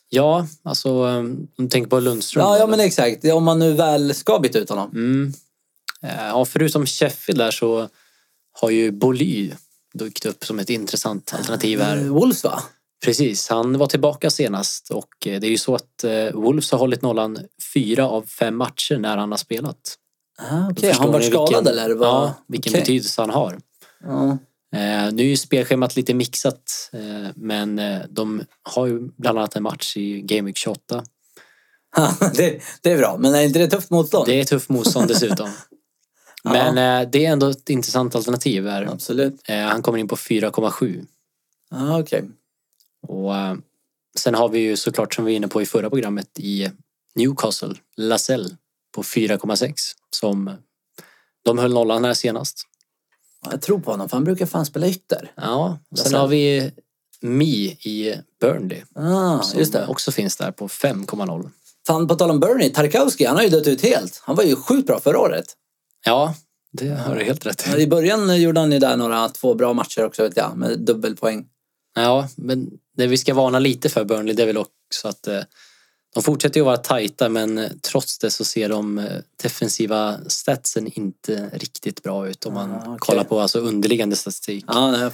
[SPEAKER 2] Ja, alltså eh, om du tänker på Lundström.
[SPEAKER 1] Ja, ja,
[SPEAKER 2] eller?
[SPEAKER 1] men exakt. Om man nu väl ska byta ut honom.
[SPEAKER 2] Mm. Eh, Ja, förutom Sheffield där så har ju Boly dykt upp som ett intressant alternativ
[SPEAKER 1] Eh,
[SPEAKER 2] här.
[SPEAKER 1] Wolves va?
[SPEAKER 2] Precis, han var tillbaka senast och eh, det är ju så att eh, Wolves har hållit nollan fyra av fem matcher när han har spelat.
[SPEAKER 1] Ah, Okej,
[SPEAKER 2] Då
[SPEAKER 1] har
[SPEAKER 2] förstår
[SPEAKER 1] han varit
[SPEAKER 2] ni vilken-
[SPEAKER 1] skadad eller? Vad?
[SPEAKER 2] Ja, vilken
[SPEAKER 1] Okej.
[SPEAKER 2] betydelse han har.
[SPEAKER 1] Ja. (laughs)
[SPEAKER 2] Eh, Nu är ju spelschemat lite mixat eh, men eh, de har ju bland annat en match i Game Week 28
[SPEAKER 1] det, det är bra, men är inte det tufft motstånd?
[SPEAKER 2] Det är tufft
[SPEAKER 1] (laughs)
[SPEAKER 2] motstånd dessutom.
[SPEAKER 1] Ja.
[SPEAKER 2] Men eh, det är ändå ett intressant alternativ. Här.
[SPEAKER 1] Absolut.
[SPEAKER 2] Eh, han kommer in på 4,7.
[SPEAKER 1] Ah, Okej.
[SPEAKER 2] Och, eh, sen har vi ju såklart, som vi var inne på i förra programmet, i Newcastle, Lasell på 4,6. Som de höll nollan här senast.
[SPEAKER 1] Ja, Jag tror på honom, för han brukar fan spela ytter.
[SPEAKER 2] Ja, och sen
[SPEAKER 1] Lascelles.
[SPEAKER 2] har vi Mi i Burnley.
[SPEAKER 1] Ah,
[SPEAKER 2] Som
[SPEAKER 1] just det.
[SPEAKER 2] också finns där på 5,0.
[SPEAKER 1] Fan, på tal om Bernie, Tarkowski, han har ju dött ut helt. Han var ju sjukt bra förra året.
[SPEAKER 2] Ja, det har du helt rätt i.
[SPEAKER 1] Ja, I början eh, gjorde han ju där några två bra matcher också vet jag, med dubbelpoäng.
[SPEAKER 2] Ja, men det vi ska varna lite för Burnley det är väl också att eh, de fortsätter ju att vara tajta men eh, trots det så ser de eh, defensiva statsen inte riktigt bra ut om man
[SPEAKER 1] Ah, okej.
[SPEAKER 2] kollar på alltså underliggande statistik.
[SPEAKER 1] Ja, nej.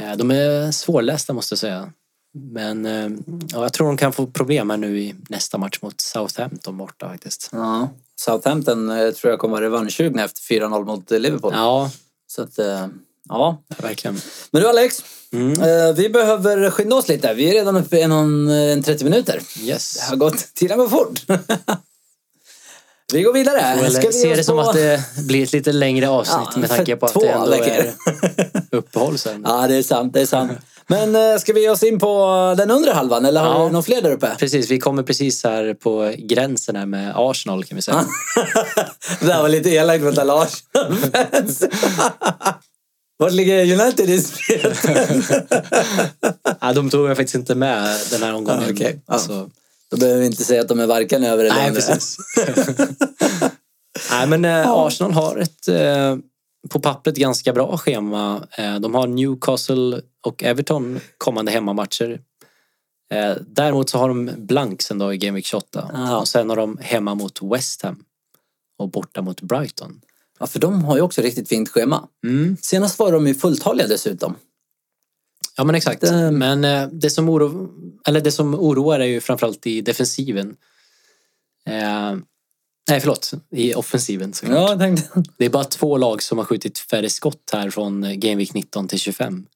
[SPEAKER 2] Eh, de är svårlästa måste jag säga. Men eh, ja, jag tror de kan få problem här nu i nästa match mot Southampton borta faktiskt.
[SPEAKER 1] ja. Southampton eh, tror jag kommer vara revanschsugna efter 4-0 mot eh, Liverpool.
[SPEAKER 2] Ja,
[SPEAKER 1] Så att, eh, ja.
[SPEAKER 2] verkligen.
[SPEAKER 1] Men du Alex,
[SPEAKER 2] Mm.
[SPEAKER 1] eh, vi behöver skynda oss lite. Vi är redan uppe i någon, eh, en 30 minuter.
[SPEAKER 2] Yes.
[SPEAKER 1] Det har gått, tiden går fort. (laughs) Vi går vidare.
[SPEAKER 2] Well,
[SPEAKER 1] Ska vi ge
[SPEAKER 2] ser
[SPEAKER 1] oss
[SPEAKER 2] det som
[SPEAKER 1] på-
[SPEAKER 2] att det blir ett lite längre avsnitt
[SPEAKER 1] Ja,
[SPEAKER 2] med tanke
[SPEAKER 1] för
[SPEAKER 2] på att
[SPEAKER 1] två
[SPEAKER 2] det ändå
[SPEAKER 1] veckor.
[SPEAKER 2] är uppehåll sen.
[SPEAKER 1] Ja, det är sant. Det är
[SPEAKER 2] (laughs)
[SPEAKER 1] sant. Men eh, ska vi ge oss in på den undre halvan eller har
[SPEAKER 2] Ja.
[SPEAKER 1] du några fler där uppe?
[SPEAKER 2] Precis, vi kommer precis här på gränsen här med Arsenal kan vi säga.
[SPEAKER 1] Det där var lite elakt mot alla (laughs) Arsenal-fans. Vart ligger United i spelet?
[SPEAKER 2] (laughs) Ja, de tog jag faktiskt inte med den här omgången.
[SPEAKER 1] Ja, okej. Ja.
[SPEAKER 2] Så,
[SPEAKER 1] Då behöver vi inte säga att de är varken över eller
[SPEAKER 2] nej,
[SPEAKER 1] under.
[SPEAKER 2] precis. nej, men eh, Arsenal har ett eh, på pappret ganska bra schema. Eh, de har Newcastle och Everton kommande hemmamatcher. Eh, däremot så har de blank sen då i Game Week 28.
[SPEAKER 1] Ja.
[SPEAKER 2] Och sen har de hemma mot West Ham och borta mot Brighton.
[SPEAKER 1] Ja, för de har ju också riktigt fint schema.
[SPEAKER 2] Mm.
[SPEAKER 1] Senast var de ju fulltaliga dessutom.
[SPEAKER 2] Ja men exakt.
[SPEAKER 1] Det-
[SPEAKER 2] Men eh, det som, oro, eller det som oroar är ju framförallt i defensiven. Eh, nej förlåt, i offensiven. såklart.
[SPEAKER 1] jag tänkte...
[SPEAKER 2] Det är bara två lag som har skjutit färre skott här från eh, Gameweek 19 till 25.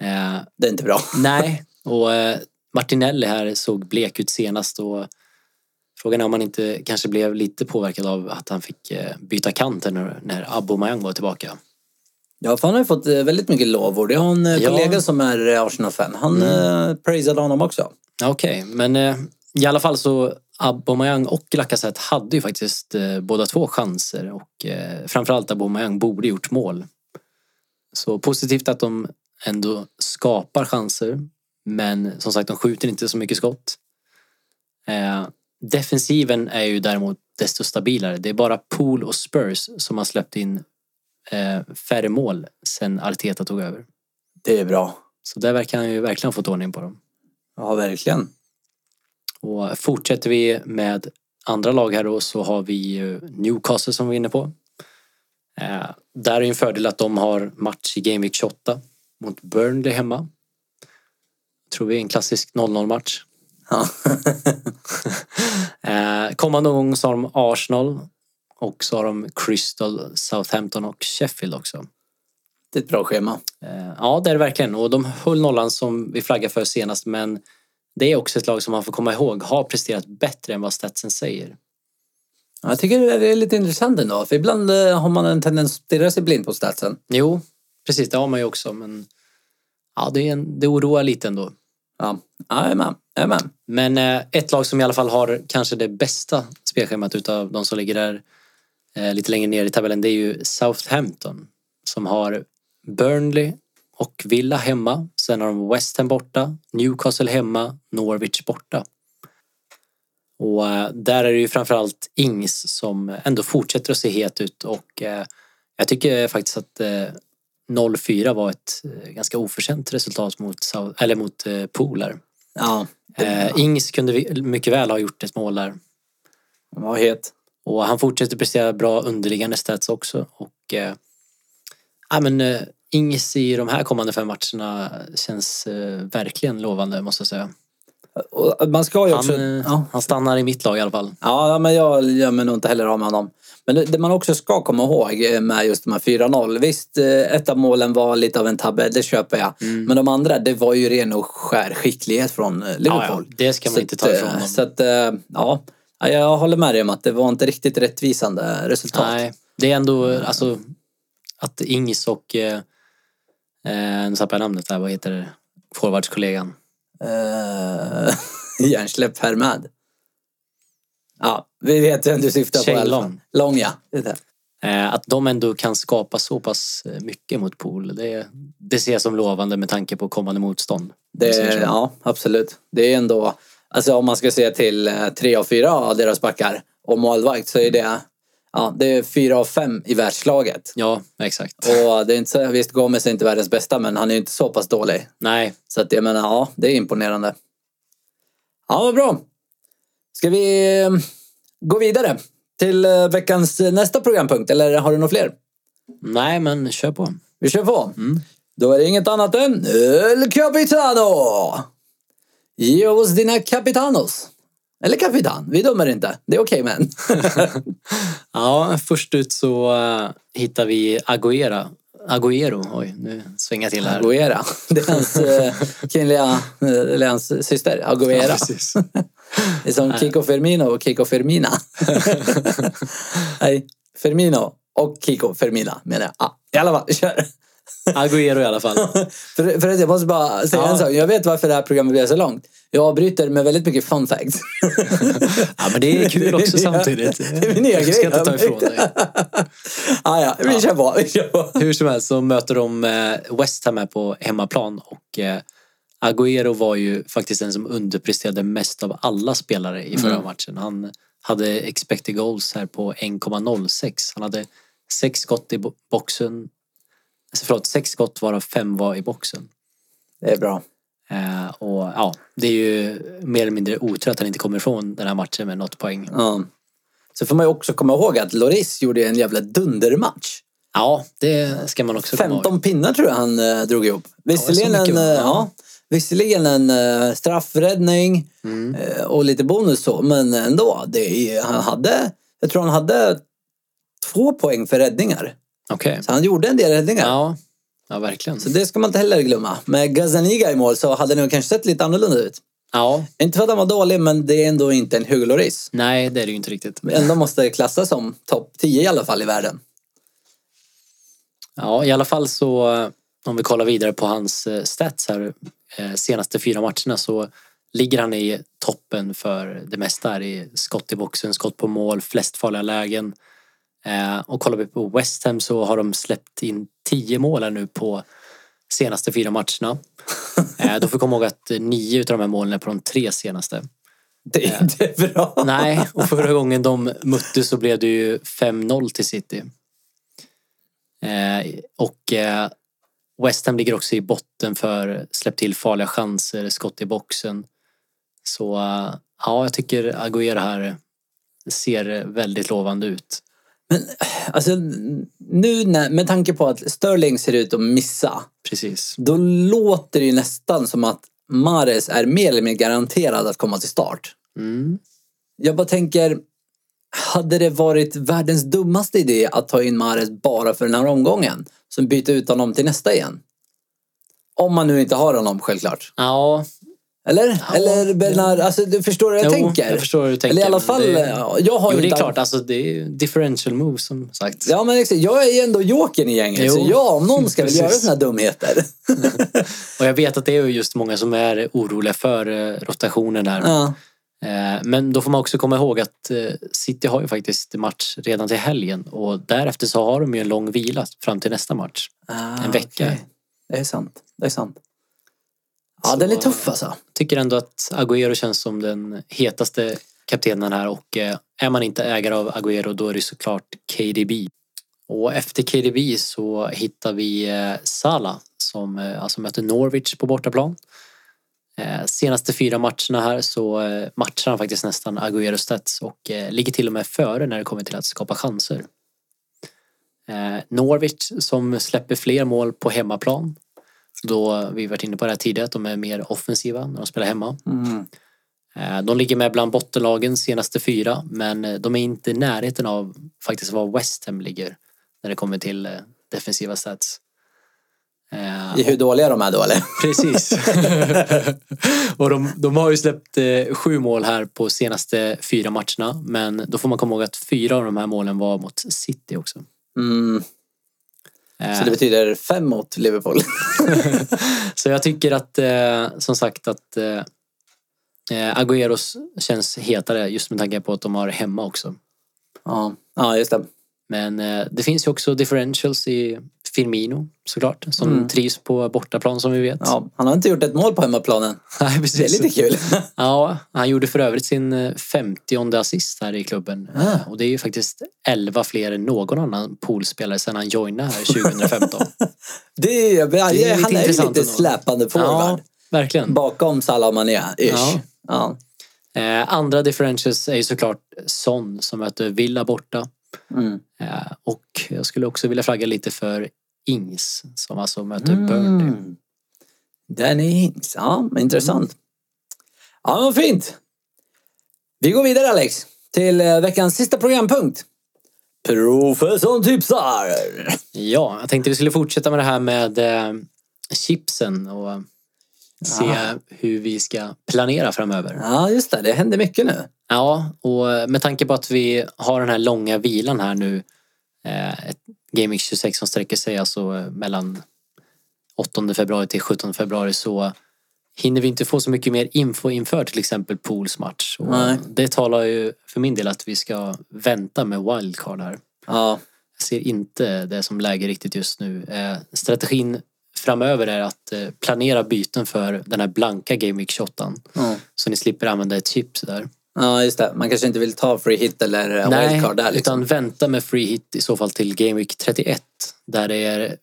[SPEAKER 2] Eh,
[SPEAKER 1] Det är inte bra.
[SPEAKER 2] nej, och eh, Martinelli här såg blek ut senast och frågan är om han inte kanske blev lite påverkad av att han fick eh, byta kant här när, när Aubameyang var tillbaka.
[SPEAKER 1] Ja, för han har ju fått eh, väldigt mycket lovord. Jag har en eh,
[SPEAKER 2] Ja.
[SPEAKER 1] kollega som är eh, Arsenal-fan. Han eh, praisade honom också.
[SPEAKER 2] Ja, Okej, men eh, i alla fall så Aubameyang och Lacazette hade ju faktiskt eh, båda två chanser och eh, framförallt Aubameyang borde gjort mål. Så positivt att de ändå skapar chanser men som sagt de skjuter inte så mycket skott. Eh, defensiven är ju däremot desto stabilare. Det är bara Pool och Spurs som har släppt in eh, färre mål sen Arteta tog över.
[SPEAKER 1] Det är bra.
[SPEAKER 2] Så där verkar han ju verkligen ha fått ordning på dem.
[SPEAKER 1] Ja, verkligen.
[SPEAKER 2] Och fortsätter vi med andra lag här då så har vi ju Newcastle som vi är inne på. Eh, där är en fördel att de har match i Game Week 28 mot Burnley hemma. Tror vi är en klassisk 0-0 match.
[SPEAKER 1] Ja.
[SPEAKER 2] (laughs) Eh, kommande gång så har de Arsenal och så har de Crystal, Southampton och Sheffield också.
[SPEAKER 1] Det är ett bra schema.
[SPEAKER 2] Eh, Ja, det är det verkligen. Och de höll nollan som vi flaggade för senast, men det är också ett lag som man får komma ihåg har presterat bättre än vad statsen säger.
[SPEAKER 1] Ja, Jag tycker det är lite intressant ändå. För ibland eh, har man en tendens att stirra sig blind på statsen.
[SPEAKER 2] Jo, precis. Det har man ju också, men ja, det, är en, det oroar lite ändå.
[SPEAKER 1] Ja, Ja, jag är med. Jag är med.
[SPEAKER 2] Men eh, ett lag som i alla fall har kanske det bästa spelschemat utav de som ligger där eh, lite längre ner i tabellen, det är ju Southampton som har Burnley och Villa hemma. Sen har de West Ham borta, Newcastle hemma, Norwich borta. Och eh, där är det ju framförallt Ings som ändå fortsätter att se het ut och eh, jag tycker faktiskt att eh, 0-4 var ett eh, ganska oförtjänt resultat mot, Sau- eller mot eh, Pool här.
[SPEAKER 1] Ja,
[SPEAKER 2] Eh, Ings kunde vi- mycket väl ha gjort ett mål där.
[SPEAKER 1] vad het.
[SPEAKER 2] Och han fortsätter prestera bra underliggande stats också. Och, eh, ja, men, eh, Ings i de här kommande fem matcherna känns eh, verkligen lovande måste jag säga.
[SPEAKER 1] Och man ska ju också...
[SPEAKER 2] Han, eh,
[SPEAKER 1] ja.
[SPEAKER 2] han stannar i mitt lag i alla fall.
[SPEAKER 1] Ja, men jag gör mig nog inte heller av med honom. Men det, det man också ska komma ihåg eh, med just de här 4-0. Visst, eh, ett av målen var lite av en tabbe, det köper
[SPEAKER 2] Mm.
[SPEAKER 1] jag. Men de andra, det var ju ren och skär skicklighet från eh,
[SPEAKER 2] Ja,
[SPEAKER 1] Liverpool.
[SPEAKER 2] ja, det ska man
[SPEAKER 1] Så
[SPEAKER 2] inte
[SPEAKER 1] att,
[SPEAKER 2] ta
[SPEAKER 1] eh,
[SPEAKER 2] ifrån honom.
[SPEAKER 1] Så att, eh, ja. Ja, Jag håller med dig om att det var inte riktigt rättvisande resultat.
[SPEAKER 2] Nej, det är ändå
[SPEAKER 1] Mm.
[SPEAKER 2] alltså, att Ings och... Eh, eh, nu tappade jag namnet där, vad heter det? forwardskollegan?
[SPEAKER 1] Eh, (laughs) Hjärnsläpp härmed. Ja, vi vet vem du syftar på. i
[SPEAKER 2] Shane
[SPEAKER 1] alla fall.
[SPEAKER 2] Long.
[SPEAKER 1] Lång, ja. Det är det.
[SPEAKER 2] Eh, Att de ändå kan skapa så pass eh, mycket mot Pool, det, det ser jag som lovande med tanke på kommande motstånd. Om vi säger
[SPEAKER 1] Det,
[SPEAKER 2] så.
[SPEAKER 1] ja, absolut. Det är ändå, alltså om man ska se till eh, tre av fyra av deras backar och målvakt så är det, ja, det är fyra av fem i världslaget.
[SPEAKER 2] ja, exakt.
[SPEAKER 1] Och det är inte så, visst Gomes är inte världens bästa men han är ju inte så pass dålig.
[SPEAKER 2] Nej,
[SPEAKER 1] Så att jag menar, ja, det är imponerande. Ja, vad bra. Ska vi eh, gå vidare till eh, veckans nästa programpunkt eller har du några fler?
[SPEAKER 2] nej men kör på.
[SPEAKER 1] Vi kör på.
[SPEAKER 2] Mm.
[SPEAKER 1] Då är det inget annat än El Capitano! Ge oss dina capitanos. Eller kapitan, vi dömer inte. Det är okej
[SPEAKER 2] (laughs)
[SPEAKER 1] men.
[SPEAKER 2] Ja, först ut så eh, hittar vi Aguera. Aguero, oj nu svänger jag till här.
[SPEAKER 1] Aguera. Det är hans eh, kvinnliga, eh, eller hans syster, Aguera.
[SPEAKER 2] precis. (laughs)
[SPEAKER 1] Det är som Kiko Firmino och Kiko Firmina. Nej, Firmino och Kiko Firmina menar jag. Ah, I alla fall, kör!
[SPEAKER 2] Aguero i alla fall.
[SPEAKER 1] För, förresten, jag måste bara säga
[SPEAKER 2] Ja.
[SPEAKER 1] en sak. Jag vet varför det här programmet blev så långt. Jag avbryter med väldigt mycket fun facts.
[SPEAKER 2] Ja, men det är kul (laughs) också samtidigt.
[SPEAKER 1] Det är min nya
[SPEAKER 2] Jag
[SPEAKER 1] grej.
[SPEAKER 2] ska inte ta ifrån dig.
[SPEAKER 1] ah, ja, vi kör på. Vi kör på.
[SPEAKER 2] Hur som helst så möter de eh, West Ham här på hemmaplan och eh, Agüero var ju faktiskt den som underpresterade mest av alla spelare i förra
[SPEAKER 1] Mm.
[SPEAKER 2] matchen. Han hade expected goals här på 1,06. Han hade sex skott i bo- boxen. Alltså, förlåt, sex skott varav fem var i boxen.
[SPEAKER 1] Det är bra.
[SPEAKER 2] Eh, och ja, det är ju mer eller mindre otur att han inte kommer ifrån den här matchen med något poäng.
[SPEAKER 1] Ja. Så får man ju också komma ihåg att Loris gjorde en jävla dundermatch.
[SPEAKER 2] Ja, det ska man också komma ihåg.
[SPEAKER 1] 15 pinnar tror jag han eh, drog ihop. Visserligen
[SPEAKER 2] det är så
[SPEAKER 1] en,
[SPEAKER 2] mycket,
[SPEAKER 1] eh,
[SPEAKER 2] va?
[SPEAKER 1] ja, visserligen en eh, straffräddning
[SPEAKER 2] Mm.
[SPEAKER 1] eh, och lite bonus så, men ändå. Det, är- han hade, jag tror han hade två poäng för räddningar.
[SPEAKER 2] Okej.
[SPEAKER 1] Så han gjorde en del räddningar.
[SPEAKER 2] Ja. ja, verkligen.
[SPEAKER 1] Så det ska man inte heller glömma. Med Gazaniga i mål så hade det nog kanske sett lite annorlunda ut.
[SPEAKER 2] Ja,
[SPEAKER 1] Inte för att han var dålig, men det är ändå inte en Hugo Lloris.
[SPEAKER 2] nej det är det ju inte riktigt.
[SPEAKER 1] Ändå måste det klassas som topp 10 i alla fall i världen.
[SPEAKER 2] Ja, i alla fall så eh, om vi kollar vidare på hans eh, stats här eh, senaste fyra matcherna så ligger han i toppen för det mesta här i skott i boxen, skott på mål, flest farliga lägen. Eh, Och kollar vi på West Ham så har de släppt in tio mål här nu på senaste fyra matcherna. Eh, Då får vi komma ihåg att eh, nio utav de här målen är på de tre senaste.
[SPEAKER 1] Det är inte (laughs) bra.
[SPEAKER 2] Nej, och förra gången de mötte så blev det ju 5-0 till City. Eh, och eh, West Ham ligger också i botten för släpp till farliga chanser, skott i boxen. Så eh, ja, jag tycker Agüero här ser väldigt lovande ut.
[SPEAKER 1] Alltså, nu när, med tanke på att Sterling ser ut att missa,
[SPEAKER 2] Precis.
[SPEAKER 1] då låter det ju nästan som att Mares är mer eller mindre garanterad att komma till start.
[SPEAKER 2] Mm.
[SPEAKER 1] Jag bara tänker, hade det varit världens dummaste idé att ta in Mares bara för den här omgången? Sen byta ut honom till nästa igen? Om man nu inte har honom självklart.
[SPEAKER 2] Ja,
[SPEAKER 1] Eller? Eller Bernard, alltså, du förstår hur jag
[SPEAKER 2] jo,
[SPEAKER 1] tänker?
[SPEAKER 2] jag förstår hur du tänker.
[SPEAKER 1] Eller i alla
[SPEAKER 2] men
[SPEAKER 1] fall,
[SPEAKER 2] Det,
[SPEAKER 1] ja, jag har
[SPEAKER 2] jo,
[SPEAKER 1] ju
[SPEAKER 2] det är
[SPEAKER 1] inte
[SPEAKER 2] klart. Alltså, det är ju differential move som sagt.
[SPEAKER 1] Ja, men exakt. Jag är ju ändå jokern i gänget.
[SPEAKER 2] Jo.
[SPEAKER 1] Så jag, om någon ska väl
[SPEAKER 2] Precis.
[SPEAKER 1] göra såna här dumheter.
[SPEAKER 2] Och jag vet att det är ju just många som är oroliga för eh, rotationen där.
[SPEAKER 1] Ja.
[SPEAKER 2] Eh, Men då får man också komma ihåg att eh, City har ju faktiskt match redan till helgen och därefter så har de ju en lång vila fram till nästa match.
[SPEAKER 1] Ah,
[SPEAKER 2] En vecka.
[SPEAKER 1] okej. Det är sant. Det är sant. Ja,
[SPEAKER 2] Så-
[SPEAKER 1] den är tuff alltså.
[SPEAKER 2] Tycker ändå att Agüero känns som den hetaste kaptenen här och eh, är man inte ägare av Agüero då är det såklart KDB. Och efter KDB så hittar vi eh, Salah som eh, alltså möter Norwich på bortaplan. Eh, Senaste fyra matcherna här så eh, matchar han faktiskt nästan Agüero stats och eh, ligger till och med före när det kommer till att skapa chanser. Eh, Norwich som släpper fler mål på hemmaplan. Då vi varit inne på det här tidigare att de är mer offensiva när de spelar hemma.
[SPEAKER 1] Mm.
[SPEAKER 2] Eh, De ligger med bland bottenlagen senaste fyra men eh, de är inte i närheten av faktiskt var West Ham ligger när det kommer till eh, defensiva stats. Eh,
[SPEAKER 1] I hur dåliga de är då, eller?
[SPEAKER 2] Precis. (laughs) och de, de har ju släppt eh, sju mål här på senaste fyra matcherna. Men då får man komma ihåg att fyra av de här målen var mot City också.
[SPEAKER 1] Mm.
[SPEAKER 2] Eh,
[SPEAKER 1] Så det betyder fem mot Liverpool.
[SPEAKER 2] så jag tycker att, eh, som sagt, att eh, eh, Agüeros känns hetare just med tanke på att de har hemma också.
[SPEAKER 1] ja. ja, just det.
[SPEAKER 2] Men eh, det finns ju också differentials i Firmino såklart, som
[SPEAKER 1] Mm.
[SPEAKER 2] trivs på bortaplan som vi vet.
[SPEAKER 1] Ja, han har inte gjort ett mål på hemmaplanen.
[SPEAKER 2] (laughs) Nej,
[SPEAKER 1] Det är
[SPEAKER 2] precis.
[SPEAKER 1] lite kul.
[SPEAKER 2] Ja, han gjorde för övrigt sin 50 assist här i klubben.
[SPEAKER 1] Ah.
[SPEAKER 2] Och det är ju faktiskt 11 fler än någon annan poolspelare sedan han joinade
[SPEAKER 1] (laughs)
[SPEAKER 2] här 2015.
[SPEAKER 1] Det är,
[SPEAKER 2] lite
[SPEAKER 1] han är ju
[SPEAKER 2] intressant
[SPEAKER 1] lite
[SPEAKER 2] ändå.
[SPEAKER 1] släpande
[SPEAKER 2] ja,
[SPEAKER 1] forward.
[SPEAKER 2] verkligen.
[SPEAKER 1] Bakom Salah och Mané, ish.
[SPEAKER 2] Ja.
[SPEAKER 1] Ja.
[SPEAKER 2] Eh, andra differentials är ju såklart Son som möter Villa borta.
[SPEAKER 1] Mm.
[SPEAKER 2] Eh, och jag skulle också vilja flagga lite för Ings som alltså möter Burnley.
[SPEAKER 1] Mm. Den är Hinks. Ja, men intressant. Ja, men fint. Vi går vidare Alex. Till eh, veckans sista programpunkt. Professorn tipsar!
[SPEAKER 2] Ja, jag tänkte vi skulle fortsätta med det här med eh, chipsen och se
[SPEAKER 1] Ah.
[SPEAKER 2] hur vi ska planera framöver.
[SPEAKER 1] Ja, just det. Det händer mycket nu.
[SPEAKER 2] Ja, och med tanke på att vi har den här långa vilan här nu, eh, ett GameX 26 som sträcker sig alltså eh, mellan 8 februari till 17 februari så hinner vi inte få så mycket mer info inför till exempel Pools match. Och
[SPEAKER 1] Nej.
[SPEAKER 2] Det talar ju för min del att vi ska vänta med wildcard här.
[SPEAKER 1] Ja,
[SPEAKER 2] Jag ser inte det som läge riktigt just nu. Eh, strategin framöver är att eh, planera byten för den här blanka GameX 28
[SPEAKER 1] ja.
[SPEAKER 2] så ni slipper använda ett chip där.
[SPEAKER 1] ja just det. Man kanske inte vill ta free hit eller eh, wildcard där. Liksom.
[SPEAKER 2] utan vänta med free hit i så fall till Game Week 31 där det är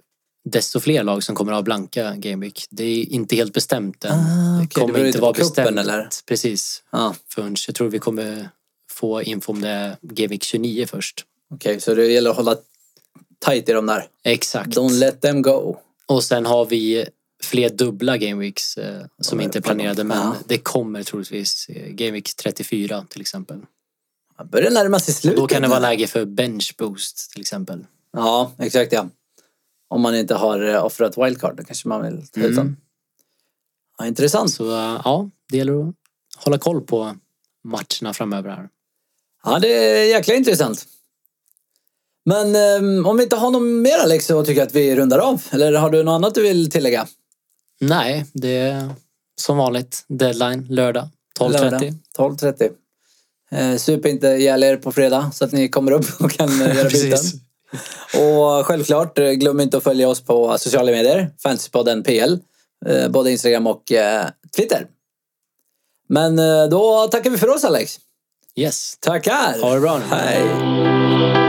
[SPEAKER 2] desto fler lag som kommer att ha blanka Game Week. Det är inte helt bestämt än.
[SPEAKER 1] Ah, okej, det
[SPEAKER 2] kommer
[SPEAKER 1] beror
[SPEAKER 2] inte
[SPEAKER 1] lite
[SPEAKER 2] vara
[SPEAKER 1] på kuppen,
[SPEAKER 2] bestämt
[SPEAKER 1] eller?
[SPEAKER 2] precis
[SPEAKER 1] Ja,
[SPEAKER 2] förrän jag tror vi kommer få info om det är Game Week 29 först.
[SPEAKER 1] Okej, så det gäller att hålla tight i de där.
[SPEAKER 2] Exakt.
[SPEAKER 1] Don't let them go.
[SPEAKER 2] Och sen har vi fler dubbla Game Weeks eh, som
[SPEAKER 1] Ja,
[SPEAKER 2] inte är
[SPEAKER 1] pardon.
[SPEAKER 2] planerade men
[SPEAKER 1] Ja.
[SPEAKER 2] det kommer troligtvis eh, Game Week 34 till exempel.
[SPEAKER 1] Det börjar närma sig slutet.
[SPEAKER 2] Då kan det
[SPEAKER 1] nu.
[SPEAKER 2] vara läge för bench boost till exempel.
[SPEAKER 1] Ja, exakt ja. Om man inte har eh, offrat wildcard, då kanske man vill ta ut
[SPEAKER 2] Mm.
[SPEAKER 1] den. Ja, intressant.
[SPEAKER 2] Så eh, ja, det gäller att hålla koll på matcherna framöver här.
[SPEAKER 1] Ja, det är jäkla intressant. Men ehm, om vi inte har något mer Alex så tycker jag att vi rundar av. Eller har du något annat du vill tillägga?
[SPEAKER 2] Nej, det är som vanligt deadline lördag 12.30.
[SPEAKER 1] Lördag, 12.30. Eh, sup inte ihjäl er på fredag så att ni kommer upp och kan eh, göra byten.
[SPEAKER 2] (laughs) Precis.
[SPEAKER 1] Och självklart, eh, glöm inte att följa oss på sociala medier, Fantasypodden PL, eh, både Instagram och eh, Twitter. Men eh, då tackar vi för oss Alex.
[SPEAKER 2] Yes,
[SPEAKER 1] Tackar!
[SPEAKER 2] ha det bra nu.
[SPEAKER 1] Hej!